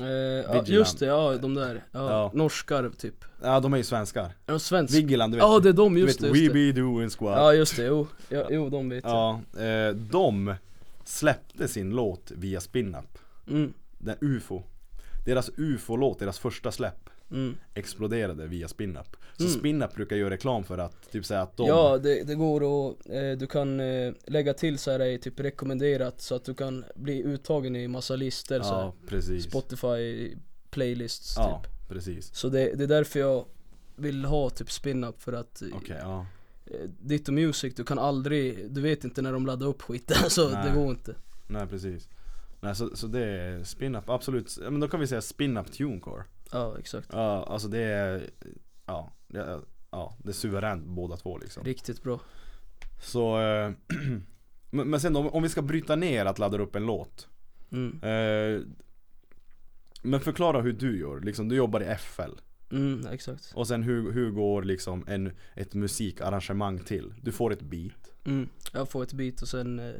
[SPEAKER 3] Eh, ja,
[SPEAKER 1] Vigilant.
[SPEAKER 3] just det, ja de där. Ja,
[SPEAKER 1] Ja.
[SPEAKER 3] Norskar typ.
[SPEAKER 1] Ja, de är ju svenskar
[SPEAKER 3] Är de svenska?
[SPEAKER 1] Vigeland, du vet,
[SPEAKER 3] Ja det är de,
[SPEAKER 1] du vet
[SPEAKER 3] just det.
[SPEAKER 1] We
[SPEAKER 3] Just det.
[SPEAKER 1] be doing squat
[SPEAKER 3] Ja just det, jo, ja, jo de vet jag.
[SPEAKER 1] Ja, eh, de släppte sin låt via Spin-Up.
[SPEAKER 3] Mm,
[SPEAKER 1] Den UFO. Deras UFO-låt, deras första släpp,
[SPEAKER 3] mm.
[SPEAKER 1] exploderade via Spin-Up. Så
[SPEAKER 3] Mm.
[SPEAKER 1] Spin-Up brukar göra reklam för att typ säga att de...
[SPEAKER 3] Ja, det, det går att, eh, du kan eh, lägga till så här i typ rekommenderat så att du kan bli uttagen i massa listor så här, typ.
[SPEAKER 1] ja precis.
[SPEAKER 3] Spotify playlists
[SPEAKER 1] ja,
[SPEAKER 3] typ
[SPEAKER 1] precis.
[SPEAKER 3] Så det, det är därför jag vill ha typ spin-up för att eh,
[SPEAKER 1] Okej, ja.
[SPEAKER 3] eh, Ditto Music, du kan aldrig, du vet inte när de laddar upp skiten så
[SPEAKER 1] Nej.
[SPEAKER 3] det går inte
[SPEAKER 1] Nej, precis. Nej, så, så det är Spin-Up, absolut. Ja, Men då kan vi säga Spin-Up Tunecore.
[SPEAKER 3] Ja exakt,
[SPEAKER 1] Ja, alltså det är... Ja, det är, ja, det är suveränt båda två liksom.
[SPEAKER 3] riktigt bra
[SPEAKER 1] Så... Eh, men men sen om, om vi ska bryta ner att ladda upp en låt.
[SPEAKER 3] mm.
[SPEAKER 1] Eh, Men förklara hur du gör, liksom, du jobbar i FL
[SPEAKER 3] Mm, exakt
[SPEAKER 1] och sen hur, hur går liksom en, ett musikarrangemang till? Du får ett beat
[SPEAKER 3] mm. Jag får ett beat och sen eh,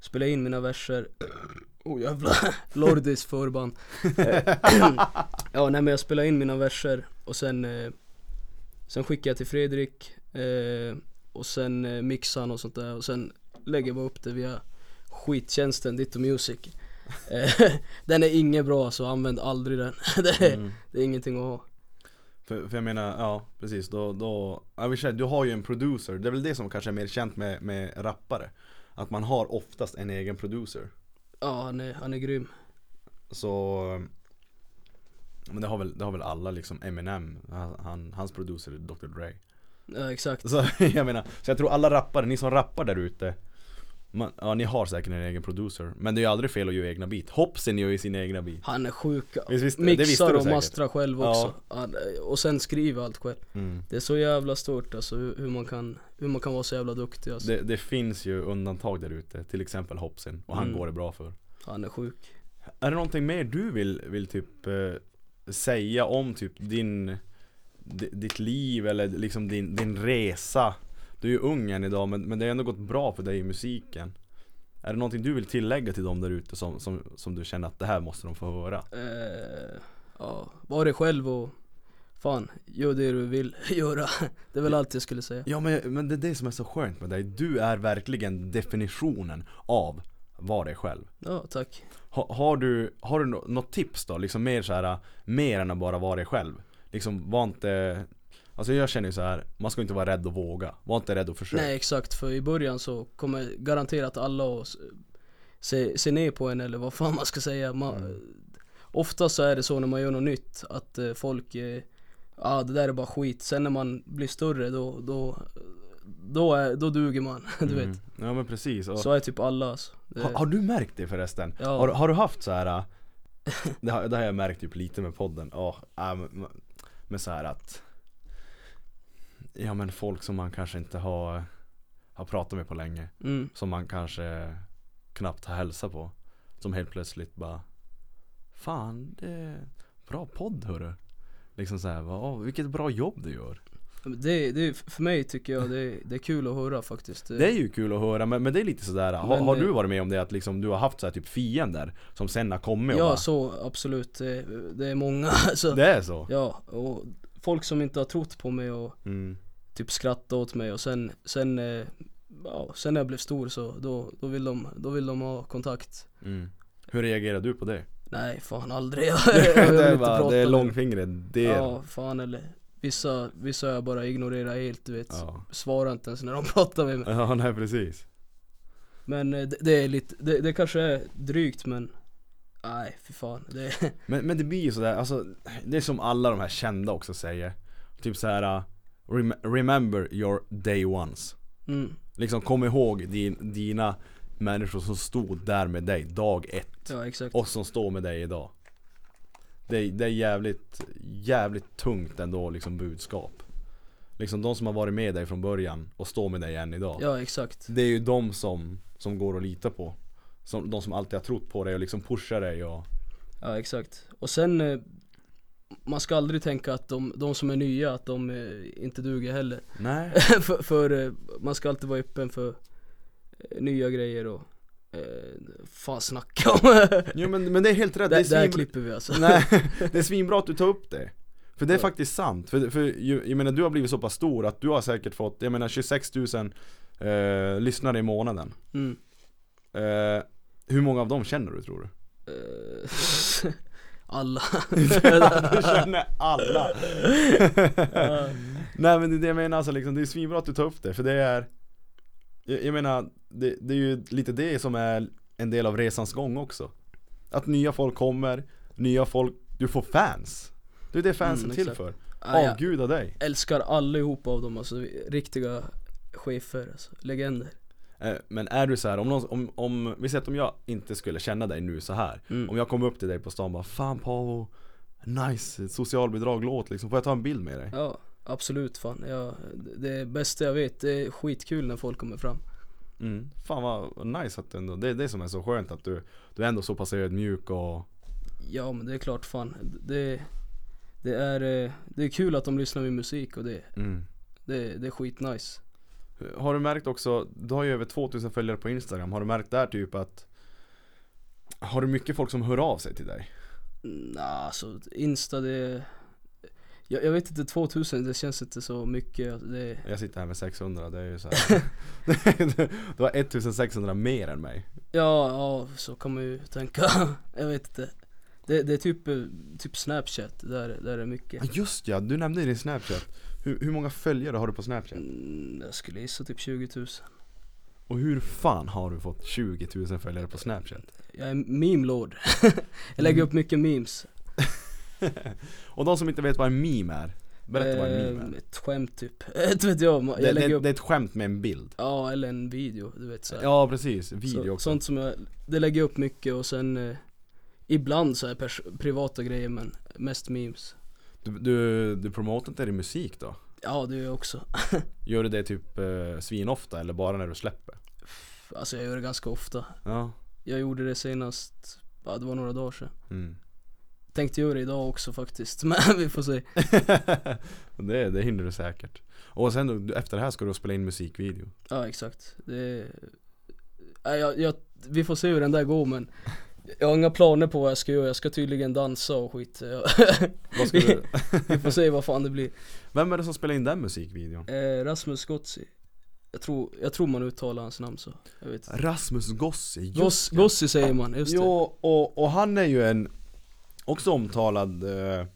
[SPEAKER 3] spelar jag in mina verser Oh jävlar, Lordis förband Ja nej men jag spelar in mina verser och sen eh, Sen skickar jag till Fredrik eh, Och sen eh, mixar han och sånt där och sen lägger jag bara upp det via skittjänsten Ditto Music Eh, Den är inget bra så använd aldrig den det, är, det är ingenting att ha
[SPEAKER 1] för, för jag menar, ja precis då, då ja, vi säger, Du har ju en producer, det är väl det som kanske är mer känt med, med rappare Att man har oftast en egen producer
[SPEAKER 3] Ja han är, han är grym
[SPEAKER 1] Så Men det har väl, det har väl alla liksom, Eminem, han- han, hans producer är Dr Dre
[SPEAKER 3] Ja exakt
[SPEAKER 1] Så jag menar, så jag tror alla rappare, ni som rappar där ute man- Ja ni har säkert en egen producer, men det är ju aldrig fel att göra egna beat Hopsen gör ju sina egna beat
[SPEAKER 3] Han är sjuk
[SPEAKER 1] Visst visste- det visste
[SPEAKER 3] Mixar
[SPEAKER 1] du
[SPEAKER 3] och
[SPEAKER 1] säkert.
[SPEAKER 3] mastrar själv
[SPEAKER 1] Ja.
[SPEAKER 3] också han, Och sen skriver allt själv Det är så jävla stort alltså hur, hur, man, kan, hur man kan vara så jävla duktig alltså.
[SPEAKER 1] det, det finns ju undantag där ute, till exempel Hopsen, och han
[SPEAKER 3] Mm.
[SPEAKER 1] går det bra för
[SPEAKER 3] Han är sjuk
[SPEAKER 1] Är det någonting mer du vill, vill typ eh, säga om typ din di- Ditt liv eller liksom din, din resa Du är ju ung än idag men, men det har ändå gått bra för dig i musiken Är det någonting du vill tillägga till dem där ute som, som, som du känner att det här måste de få höra?
[SPEAKER 3] Eh, ja, var dig själv och fan, gör det du vill göra. Det är väl allt jag skulle säga.
[SPEAKER 1] Ja men, men det är det som är så skönt med dig. Du är verkligen definitionen av var dig själv.
[SPEAKER 3] Ja, tack.
[SPEAKER 1] Ha, har du, har du nå- något tips då? Liksom mer så här, mer än att bara vara dig själv. Liksom var inte Alltså jag känner ju så här, man ska inte vara rädd att våga. Var inte rädd att försöka.
[SPEAKER 3] Nej, exakt. För i början så kommer garanterat alla att s- se, se ner på en eller vad fan man ska säga. Man,
[SPEAKER 1] Mm.
[SPEAKER 3] Ofta så är det så när man gör något nytt att eh, folk, eh, ah, det där är bara skit. Sen när man blir större då, då, då, är, då duger man. Du vet.
[SPEAKER 1] Ja men precis. Och,
[SPEAKER 3] Så är typ alla alltså. Det-
[SPEAKER 1] Mm. ha, har du märkt det förresten?
[SPEAKER 3] Ja.
[SPEAKER 1] Har, har du haft så här. äh, Det har, det har jag märkt typ lite med podden. Ja, äh, men, men så här att Ja men folk som man kanske inte har, har pratat med på länge.
[SPEAKER 3] Mm.
[SPEAKER 1] Som man kanske knappt har hälsa på. Som helt plötsligt bara Fan, det är bra podd hörru. Liksom såhär, oh, vilket bra jobb du gör.
[SPEAKER 3] Men Det, det, är- för mig tycker jag det, det är kul att höra faktiskt.
[SPEAKER 1] Det är ju kul att höra men, men det är lite sådär, har,
[SPEAKER 3] Men
[SPEAKER 1] har
[SPEAKER 3] det-
[SPEAKER 1] du varit med om det att liksom du har haft så här typ fiender som sen har kommit och
[SPEAKER 3] ja
[SPEAKER 1] bara,
[SPEAKER 3] så absolut, det, det är många. Så,
[SPEAKER 1] Det är så?
[SPEAKER 3] Ja, och folk som inte har trott på mig och
[SPEAKER 1] Mm.
[SPEAKER 3] typ skrattat åt mig och sen, sen, eh, ja, sen när jag blev stor så då, då, vill de, då vill de ha kontakt.
[SPEAKER 1] Mm. Hur reagerar du på det?
[SPEAKER 3] Nej fan aldrig, jag,
[SPEAKER 1] det,
[SPEAKER 3] vill
[SPEAKER 1] är
[SPEAKER 3] inte
[SPEAKER 1] bara,
[SPEAKER 3] prata
[SPEAKER 1] det är
[SPEAKER 3] med-
[SPEAKER 1] långfingret, det är
[SPEAKER 3] Ja fan eller vissa, vissa jag bara ignorerar helt du vet.
[SPEAKER 1] ja.
[SPEAKER 3] Svarar inte ens när de pratar med mig.
[SPEAKER 1] ja, nej precis
[SPEAKER 3] Men eh, det, det är lite, det, det kanske är drygt men Nej fy fan, det
[SPEAKER 1] men, men det blir ju sådär, alltså det är som alla de här kända också säger Typ såhär, rem- remember your day ones
[SPEAKER 3] mm.
[SPEAKER 1] Liksom kom ihåg din, dina människor som stod där med dig dag ett
[SPEAKER 3] Ja exakt.
[SPEAKER 1] och som står med dig idag. Det, är- det är jävligt, jävligt tungt ändå liksom budskap. Liksom de som har varit med dig från början och står med dig än idag.
[SPEAKER 3] Ja exakt.
[SPEAKER 1] Det är ju de som, som går att lita på. Som, de som alltid har trott på dig och liksom pushar dig och
[SPEAKER 3] Ja exakt. Och sen eh, man ska aldrig tänka att de, de som är nya att de eh, inte duger heller.
[SPEAKER 1] Nej.
[SPEAKER 3] för, för eh, man ska alltid vara öppen för eh, nya grejer och eh, fan snacka om.
[SPEAKER 1] Jo men, men det är helt rätt. Det är
[SPEAKER 3] där, där
[SPEAKER 1] svinbra-
[SPEAKER 3] klipper vi alltså.
[SPEAKER 1] Nej, det är svinbra att du tar upp det. För det är
[SPEAKER 3] Ja.
[SPEAKER 1] faktiskt sant. För, för ju- jag menar du har blivit så pass stor att du har säkert fått, jag menar 26 000 eh, lyssnare i månaden.
[SPEAKER 3] Mm.
[SPEAKER 1] Eh, hur många av dem känner du tror du?
[SPEAKER 3] Eh, Alla.
[SPEAKER 1] du känner alla! Nej men det är det jag menar alltså liksom, det är svinbra att du tar upp det för det är Jag, jag menar, det, det är ju lite det som är en del av resans gång också Att nya folk kommer, nya folk, du får fans! Det är det fansen
[SPEAKER 3] Mm,
[SPEAKER 1] till
[SPEAKER 3] exakt.
[SPEAKER 1] för,
[SPEAKER 3] Ah, ja.
[SPEAKER 1] avguda dig!
[SPEAKER 3] Älskar allihopa av dem alltså, riktiga chefer alltså, legender.
[SPEAKER 1] Eh, Men är du så här, om, någon, om, om vi säger att om jag inte skulle känna dig nu så här
[SPEAKER 3] Mm.
[SPEAKER 1] Om jag kommer upp till dig på stan och bara 'Fan Paavo, nice socialbidrag låt liksom, får jag ta en bild med dig?'
[SPEAKER 3] Ja, absolut fan. Ja, det bästa jag vet, det är skitkul när folk kommer fram.
[SPEAKER 1] Mm. Fan vad nice att du ändå, det är det som är så skönt att du, du är ändå så pass ödmjuk och
[SPEAKER 3] Ja men det är klart fan. Det, det, är, eh, det är kul att de lyssnar med musik och det,
[SPEAKER 1] Mm.
[SPEAKER 3] det, det är skitnice.
[SPEAKER 1] Har du märkt också, du har ju över 2000 följare på Instagram, har du märkt där typ att Har du mycket folk som hör av sig till dig?
[SPEAKER 3] Nja alltså Insta det jag, jag vet inte, 2000 det känns inte så mycket. Det,
[SPEAKER 1] Jag sitter här med 600, det är ju så här. Du har 1600 mer än mig
[SPEAKER 3] ja, ja så kan man ju tänka. jag vet inte. Det, det är typ, eh, typ Snapchat, där, där är mycket.
[SPEAKER 1] Ja, Just ja, du nämnde ju din Snapchat hur, hur många följare har du på Snapchat?
[SPEAKER 3] Mm, jag skulle gissa typ 20 000.
[SPEAKER 1] Och hur fan har du fått 20 000 följare på Snapchat?
[SPEAKER 3] Jag är meme lord. jag lägger
[SPEAKER 1] Mm.
[SPEAKER 3] upp mycket memes.
[SPEAKER 1] Och de som inte vet vad en meme är Berätta vad en meme
[SPEAKER 3] Eh,
[SPEAKER 1] är
[SPEAKER 3] Ett skämt typ. Inte vet jag. Jag
[SPEAKER 1] det,
[SPEAKER 3] lägger
[SPEAKER 1] det,
[SPEAKER 3] upp
[SPEAKER 1] det är ett skämt med en bild
[SPEAKER 3] Ja eller en video, du vet såhär
[SPEAKER 1] Ja precis, video
[SPEAKER 3] så,
[SPEAKER 1] också
[SPEAKER 3] Sånt som jag, det lägger jag upp mycket och sen eh, Ibland så här pers- privata grejer men mest memes
[SPEAKER 1] Du, du, du promotar inte din musik då?
[SPEAKER 3] Ja det gör jag också
[SPEAKER 1] Gör du det typ eh, svinofta eller bara när du släpper?
[SPEAKER 3] Alltså jag gör det ganska ofta
[SPEAKER 1] Ja
[SPEAKER 3] Jag gjorde det senast, ja det var några dagar sedan
[SPEAKER 1] mm.
[SPEAKER 3] Tänkte göra det idag också faktiskt men vi får se
[SPEAKER 1] det, det hinner du säkert Och sen då, efter det här ska du spela in musikvideo
[SPEAKER 3] Ja exakt, det Nej, jag, jag, vi får se hur den där går men Jag har inga planer på vad jag ska göra, jag ska tydligen dansa och skit
[SPEAKER 1] Vad ska du...
[SPEAKER 3] Vi får se vad fan det blir
[SPEAKER 1] Vem är det som spelar in den musikvideon?
[SPEAKER 3] eh, Rasmus Gozzi jag tror, jag tror man uttalar hans namn så, jag vet inte.
[SPEAKER 1] Rasmus Gossi, just
[SPEAKER 3] Goss,
[SPEAKER 1] ja.
[SPEAKER 3] Gossi säger man, just det
[SPEAKER 1] Jo, och, och han är ju en också omtalad, eh,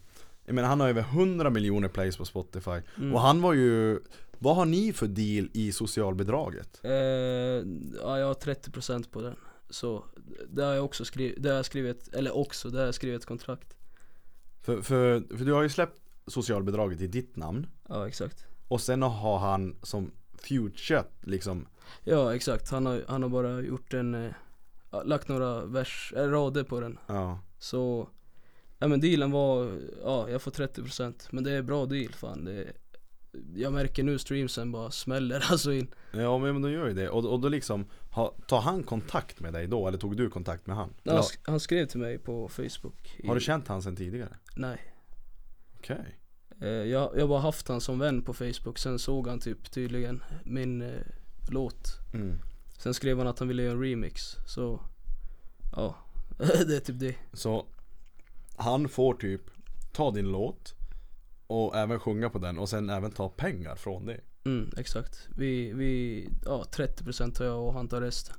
[SPEAKER 1] jag menar han har över 100 miljoner plays på Spotify
[SPEAKER 3] Mm.
[SPEAKER 1] Och han var ju, vad har ni för deal i socialbidraget?
[SPEAKER 3] Eh, ja, jag har 30% på den. Så där har jag också skrivit, där har jag skrivit, eller också, där har jag skrivit ett kontrakt.
[SPEAKER 1] För, för, för du har ju släppt socialbidraget i ditt namn
[SPEAKER 3] Ja exakt.
[SPEAKER 1] Och sen har han som future liksom
[SPEAKER 3] Ja exakt, han har, han har bara gjort en, eh, ja, lagt några vers, eh, rader på den.
[SPEAKER 1] Ja,
[SPEAKER 3] Så, ja men dealen var, ja jag får 30% men det är bra deal fan. Det, jag märker nu streamsen bara smäller alltså in.
[SPEAKER 1] ja men men då gör ju det och, och då liksom ha, Tar han kontakt med dig då eller tog du kontakt med han?
[SPEAKER 3] Han, sk- han skrev till mig på Facebook. i-
[SPEAKER 1] Har du känt han sen tidigare?
[SPEAKER 3] Nej.
[SPEAKER 1] Okej
[SPEAKER 3] Eh, Jag, jag bara haft han som vän på Facebook, sen såg han typ tydligen min eh, låt
[SPEAKER 1] mm.
[SPEAKER 3] Sen skrev han att han ville göra en remix, så ja, det är typ det
[SPEAKER 1] Så han får typ ta din låt och även sjunga på den och sen även ta pengar från det.
[SPEAKER 3] Mm, exakt. Vi, vi, ja 30% tar jag och han tar resten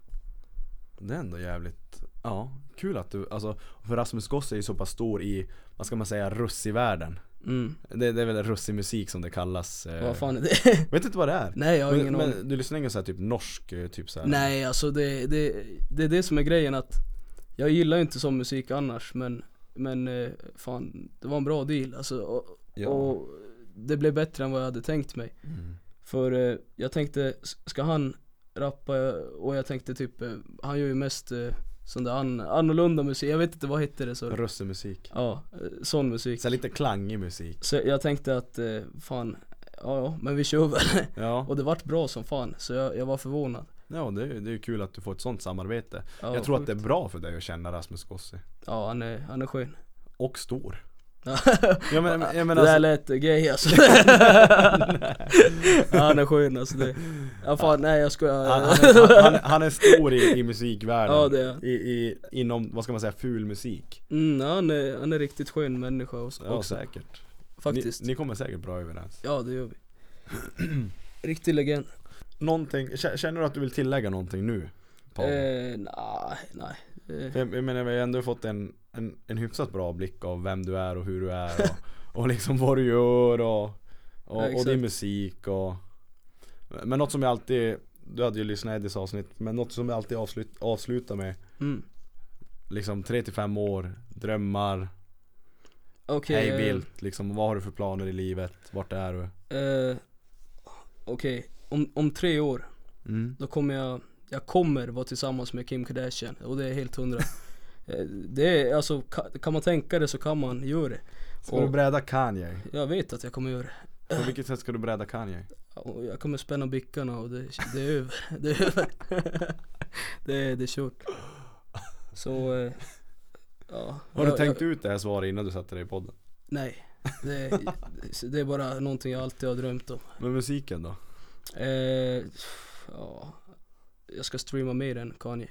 [SPEAKER 1] Det är ändå jävligt, ja kul att du, alltså för Rasmus Goss är ju så pass stor i, vad ska man säga, russivärlden.
[SPEAKER 3] Mm,
[SPEAKER 1] Det, det är väl russimusik som det kallas. eh.
[SPEAKER 3] vad fan är det?
[SPEAKER 1] Vet inte vad det är?
[SPEAKER 3] Nej jag har
[SPEAKER 1] Men,
[SPEAKER 3] ingen aning
[SPEAKER 1] men du lyssnar ingen så här typ norsk, eh, typ så här.
[SPEAKER 3] Nej alltså det, det, det är det som är grejen att Jag gillar ju inte sån musik annars men, men eh, fan det var en bra deal alltså och,
[SPEAKER 1] Ja.
[SPEAKER 3] och det blev bättre än vad jag hade tänkt mig
[SPEAKER 1] Mm.
[SPEAKER 3] För eh, jag tänkte, s- ska han rappa och jag tänkte typ, eh, han gör ju mest eh, sån där an- annorlunda musik, jag vet inte vad heter det så
[SPEAKER 1] Russemusik.
[SPEAKER 3] Ja, eh, sån musik
[SPEAKER 1] Så här lite klangig musik.
[SPEAKER 3] Så jag tänkte att, eh, fan, ja ja, men vi kör väl
[SPEAKER 1] Ja,
[SPEAKER 3] Och det vart bra som fan, så jag, jag var förvånad
[SPEAKER 1] ja det, är- det är ju kul att du får ett sånt samarbete.
[SPEAKER 3] ja,
[SPEAKER 1] Jag tror att det
[SPEAKER 3] sjukt.
[SPEAKER 1] är bra för dig att känna Rasmus Gossi.
[SPEAKER 3] Ja han är, han är skön
[SPEAKER 1] Och stor.
[SPEAKER 3] Ja,
[SPEAKER 1] Jag men, jag men
[SPEAKER 3] det där
[SPEAKER 1] alltså,
[SPEAKER 3] lät eh, gay alltså ja, Han är skön alltså det Ja fan nej jag skojar
[SPEAKER 1] han, han, är, han, han är stor i, i musikvärlden
[SPEAKER 3] Ja, det är han.
[SPEAKER 1] I, i, Inom, vad ska man säga, ful musik
[SPEAKER 3] mm, han, är, han är riktigt skön människa också,
[SPEAKER 1] Ja säkert
[SPEAKER 3] faktiskt
[SPEAKER 1] ni, ni kommer säkert bra överens
[SPEAKER 3] Ja det gör vi Riktig legend
[SPEAKER 1] Någonting, kä- känner du att du vill tillägga någonting nu? Paul?
[SPEAKER 3] eh, Nej, nej eh,
[SPEAKER 1] För jag, jag menar vi har ändå fått en, en, en hyfsat bra blick av vem du är och hur du är och, och liksom vad du gör och, och,
[SPEAKER 3] Ja,
[SPEAKER 1] och
[SPEAKER 3] exakt.
[SPEAKER 1] din musik och Men något som jag alltid, du hade ju lyssnat i Eddys avsnitt Men något som jag alltid avslut, avslutar med
[SPEAKER 3] mm.
[SPEAKER 1] Liksom 3-5 år, drömmar
[SPEAKER 3] Okej,
[SPEAKER 1] Hej
[SPEAKER 3] eh,
[SPEAKER 1] Bildt, liksom, vad har du för planer i livet? Vart är du?
[SPEAKER 3] eh, Okej, om, om tre år då kommer jag Jag kommer vara tillsammans med Kim Kardashian och det är helt hundra Eh, Det är alltså, ka- kan man tänka det så kan man göra det
[SPEAKER 1] Ska du
[SPEAKER 3] och
[SPEAKER 1] bräda Kanye?
[SPEAKER 3] Jag vet att jag kommer göra det
[SPEAKER 1] På vilket sätt ska du bräda Kanye?
[SPEAKER 3] och jag kommer spänna bickarna och det, det är över, det är över Det är, det är kört Så, eh, ja
[SPEAKER 1] Har du
[SPEAKER 3] Jag- jag-
[SPEAKER 1] tänkt ut det här svaret innan du satte dig i podden?
[SPEAKER 3] Nej, det, det är bara någonting jag alltid har drömt om.
[SPEAKER 1] Men musiken då?
[SPEAKER 3] Eh, ja, jag ska streama mer än Kanye.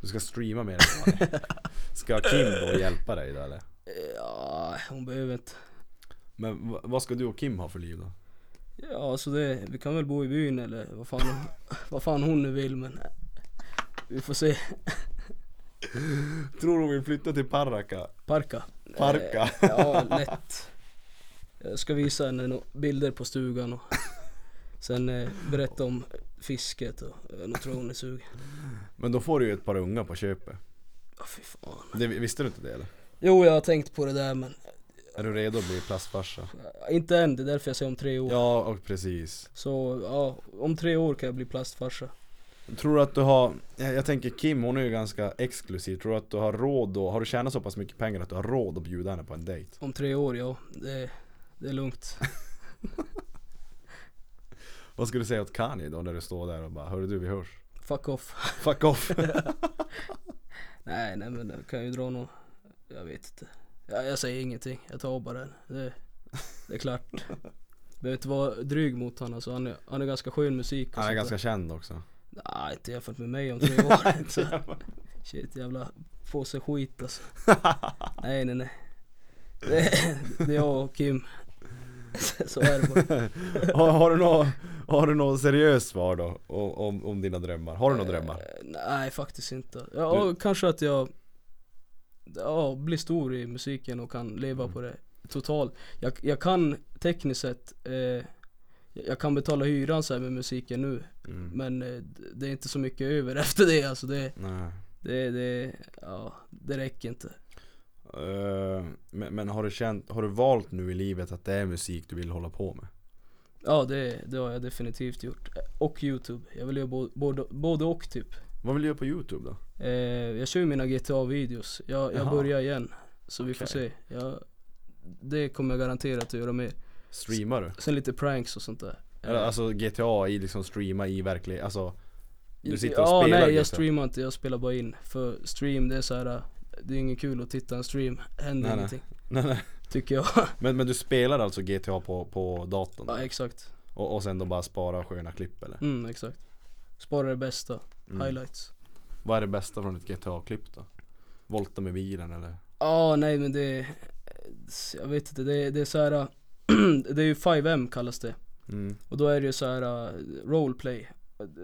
[SPEAKER 1] Du ska streama mer än Kanye Ska Kim då hjälpa dig då eller?
[SPEAKER 3] Eh, Ja, hon behöver inte.
[SPEAKER 1] Men v- vad ska du och Kim ha för liv då?
[SPEAKER 3] Ja, så det, vi kan väl bo i byn eller vad fan, hon- vad fan hon nu vill men vi får se.
[SPEAKER 1] Tror du hon vill flytta till Paraka?
[SPEAKER 3] Parka.
[SPEAKER 1] Parka?
[SPEAKER 3] Eh, ja, lätt. Jag ska visa henne nå- bilder på stugan och sen eh, berätta om fisket och eh, nog tror jag hon är sugen.
[SPEAKER 1] Men då får du ju ett par unga på köpet
[SPEAKER 3] Ja, fy fan.
[SPEAKER 1] det, Visste du inte det eller?
[SPEAKER 3] Jo, jag har tänkt på det där men eh,
[SPEAKER 1] Är du redo att bli plastfarsa?
[SPEAKER 3] Inte än, det är därför jag säger om tre år.
[SPEAKER 1] Ja, och precis
[SPEAKER 3] Så ja, om tre år kan jag bli plastfarsa.
[SPEAKER 1] Tror du att du har, jag jag tänker Kim hon är ju ganska exklusiv, tror du att du har råd och har du tjänat så pass mycket pengar att du har råd att bjuda henne på en dejt?
[SPEAKER 3] Om tre år, ja. Det, det är lugnt.
[SPEAKER 1] Vad skulle du säga åt Kanye då när du står där och bara hörru du vi hörs?
[SPEAKER 3] Fuck off.
[SPEAKER 1] Fuck off!
[SPEAKER 3] Nej, nej men det kan jag ju dra någon. Jag vet inte. Jag, jag säger ingenting. Jag tar bara den. Det, det är klart. Behöver inte vara dryg mot honom alltså. Han är, han är ganska skön musik och
[SPEAKER 1] Han är
[SPEAKER 3] sånt
[SPEAKER 1] ganska
[SPEAKER 3] där.
[SPEAKER 1] känd också
[SPEAKER 3] Nej, inte jämfört med mig om tre år. Så, shit, jävla påse skit alltså. Nej, nej, nej. Det, det är jag och Kim. Så är det bara.
[SPEAKER 1] har, har, du något, har du något seriöst svar då? Om, om, om dina drömmar? Har du några drömmar?
[SPEAKER 3] Eh, Nej, faktiskt inte. Ja, och kanske att jag ja, blir stor i musiken och kan leva på det totalt. Jag, jag kan tekniskt sett eh, jag kan betala hyran så här med musiken nu
[SPEAKER 1] Mm.
[SPEAKER 3] Men eh, d- det är inte så mycket över efter det alltså det,
[SPEAKER 1] Nej.
[SPEAKER 3] det, det, ja, det räcker inte
[SPEAKER 1] Eh, men, men har du känt, har du valt nu i livet att det är musik du vill hålla på med?
[SPEAKER 3] Ja det, det har jag definitivt gjort Eh, Och Youtube, jag vill göra bo, både, både och typ
[SPEAKER 1] Vad vill du göra på youtube då?
[SPEAKER 3] eh, Jag kör ju mina GTA-videos, jag, jag
[SPEAKER 1] Jaha.
[SPEAKER 3] börjar igen Så vi får
[SPEAKER 1] Okej.
[SPEAKER 3] se jag, Det kommer jag garanterat att göra mer
[SPEAKER 1] Streamar du?
[SPEAKER 3] Sen lite pranks och sånt där
[SPEAKER 1] Eller, Alltså GTA i liksom streama i verklig, alltså du sitter och spelar
[SPEAKER 3] ja,
[SPEAKER 1] liksom.
[SPEAKER 3] nej
[SPEAKER 1] GTA.
[SPEAKER 3] jag streamar inte, jag spelar bara in För stream det är så här. eh, Det är inget kul att titta en stream, händer
[SPEAKER 1] Nej, nej.
[SPEAKER 3] ingenting
[SPEAKER 1] Nej, nej.
[SPEAKER 3] Tycker jag
[SPEAKER 1] Men, men du spelar alltså GTA på, på datorn?
[SPEAKER 3] Ja exakt
[SPEAKER 1] Och, och sen då bara spara sköna klipp eller?
[SPEAKER 3] Mm, exakt. Spara det bästa,
[SPEAKER 1] Mm.
[SPEAKER 3] highlights.
[SPEAKER 1] Vad är det bästa från ett GTA-klipp då? Volta med bilen eller?
[SPEAKER 3] Ja, nej men det, jag vet inte, det, det är så här. det är ju 5M kallas det.
[SPEAKER 1] Mm.
[SPEAKER 3] Och då är det ju så här eh, roleplay.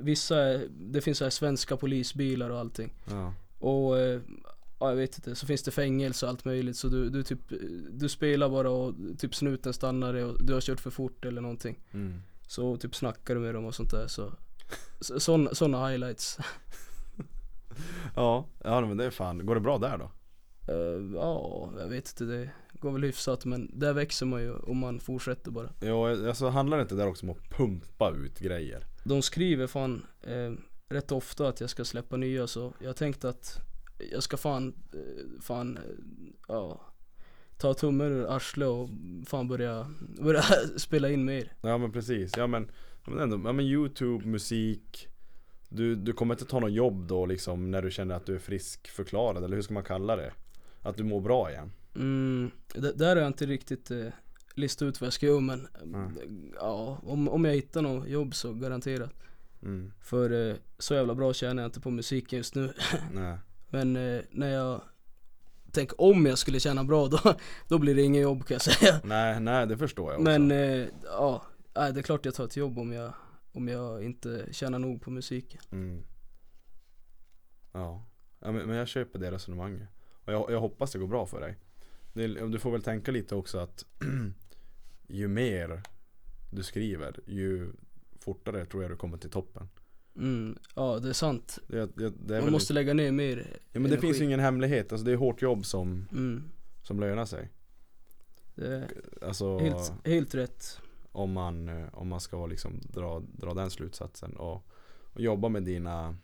[SPEAKER 3] Vissa, är- det finns så här svenska polisbilar och allting.
[SPEAKER 1] Ja.
[SPEAKER 3] Och eh, ja, jag vet inte, så finns det fängelse och allt möjligt. Så du, du typ, eh, du spelar bara och typ snuten stannar dig och du har kört för fort eller någonting.
[SPEAKER 1] Mm.
[SPEAKER 3] Så typ snackar du med dem och sånt där så. så- Såna, såna highlights.
[SPEAKER 1] Ja, ja men det är fan, går det bra där då?
[SPEAKER 3] Eh, Ja, jag vet inte. Det går väl hyfsat men där växer man ju om man fortsätter bara.
[SPEAKER 1] Jo, alltså handlar det inte där också om att pumpa ut grejer?
[SPEAKER 3] De skriver fan eh, rätt ofta att jag ska släppa nya så jag tänkte att jag ska fan, eh, fan, eh, ja. Ta tummen ur arslet och fan börja, börja spela in mer.
[SPEAKER 1] Ja men precis, ja men, ja, men, ändå, ja, men youtube, musik du, du kommer inte ta något jobb då liksom när du känner att du är friskförklarad eller hur ska man kalla det? Att du mår bra igen?
[SPEAKER 3] Mm, d- där har jag inte riktigt eh, listat ut vad jag ska göra men eh, ja, om, om jag hittar något jobb så garanterat.
[SPEAKER 1] Mm.
[SPEAKER 3] För eh, så jävla bra tjänar jag inte på musiken just nu.
[SPEAKER 1] Nej.
[SPEAKER 3] Men eh, när jag Tänk om jag skulle tjäna bra då, då blir det inget jobb kan jag säga
[SPEAKER 1] nej, nej det förstår jag också
[SPEAKER 3] Men eh, ja, nej, det är klart jag tar ett jobb om jag Om jag inte tjänar nog på musiken
[SPEAKER 1] Mm. Ja, ja men, men jag köper det resonemanget. Och jag, jag hoppas det går bra för dig. Det, är- du får väl tänka lite också att ju mer du skriver, ju fortare tror jag du kommer till toppen.
[SPEAKER 3] mm, Ja det är sant
[SPEAKER 1] Det, det, det, är
[SPEAKER 3] Man
[SPEAKER 1] väl,
[SPEAKER 3] måste lägga ner mer
[SPEAKER 1] ja, men det
[SPEAKER 3] energi.
[SPEAKER 1] finns ju ingen hemlighet, alltså det är hårt jobb som,
[SPEAKER 3] mm,
[SPEAKER 1] som lönar sig.
[SPEAKER 3] det är
[SPEAKER 1] Alltså
[SPEAKER 3] helt, helt rätt
[SPEAKER 1] om man, eh, om man ska liksom dra, dra den slutsatsen och, och jobba med dina,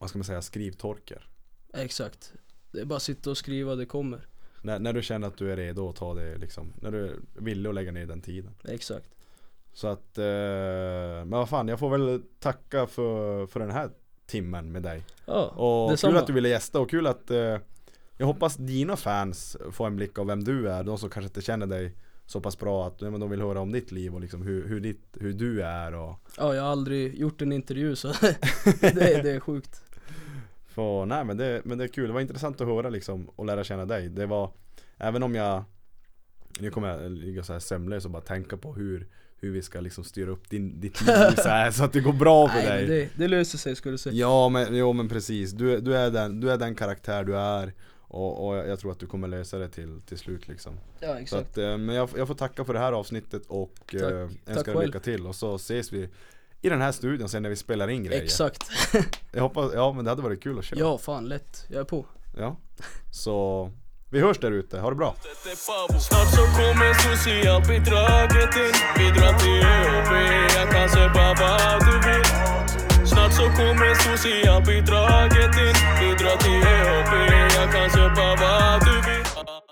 [SPEAKER 1] vad ska man säga, skrivtorker.
[SPEAKER 3] Exakt Det är bara att sitta och skriva, det kommer
[SPEAKER 1] När, när du känner att du är redo att ta det liksom, när du är villig att lägga ner den tiden.
[SPEAKER 3] Exakt
[SPEAKER 1] Så att, eh, men vad fan jag får väl tacka för, för den här timmen med dig.
[SPEAKER 3] Ja,
[SPEAKER 1] Och kul
[SPEAKER 3] detsamma
[SPEAKER 1] att du ville gästa och kul att eh, jag hoppas dina fans får en blick av vem du är. De som kanske inte känner dig så pass bra att nej, men de vill höra om ditt liv och liksom hur, hur, ditt, hur du är och
[SPEAKER 3] Ja jag har aldrig gjort en intervju så det, det är sjukt
[SPEAKER 1] För, nej men det, men det är kul, det var intressant att höra liksom och lära känna dig. Det var, även om jag, nu kommer jag ligga så här sömnlös och bara tänka på hur, hur vi ska liksom styra upp din, ditt liv så, här, så att det går bra för
[SPEAKER 3] Nej
[SPEAKER 1] dig.
[SPEAKER 3] men det, det löser sig skulle du säga
[SPEAKER 1] Ja men, jo, men precis, du, du, är den, du är den karaktär du är och, och jag tror att du kommer lösa det till, till slut liksom.
[SPEAKER 3] Ja
[SPEAKER 1] Så
[SPEAKER 3] exakt
[SPEAKER 1] att, eh, men jag, jag får tacka för det här avsnittet och eh,
[SPEAKER 3] Tack.
[SPEAKER 1] önskar dig
[SPEAKER 3] Tack själv.
[SPEAKER 1] lycka till och så ses vi i den här studion sen när vi spelar in grejer.
[SPEAKER 3] Exakt
[SPEAKER 1] Jag hoppas, ja men det hade varit kul att köra.
[SPEAKER 3] Ja, fan lätt. Jag är på.
[SPEAKER 1] Ja. Så vi hörs där ute, ha det bra.
[SPEAKER 2] Det är babo. Snart så kommer socialbidraget in Vi drar till ÖB, jag kan köpa vad du vill Snart så kommer socialbidraget in Vi drar till ÖB, jag kan köpa vad du vill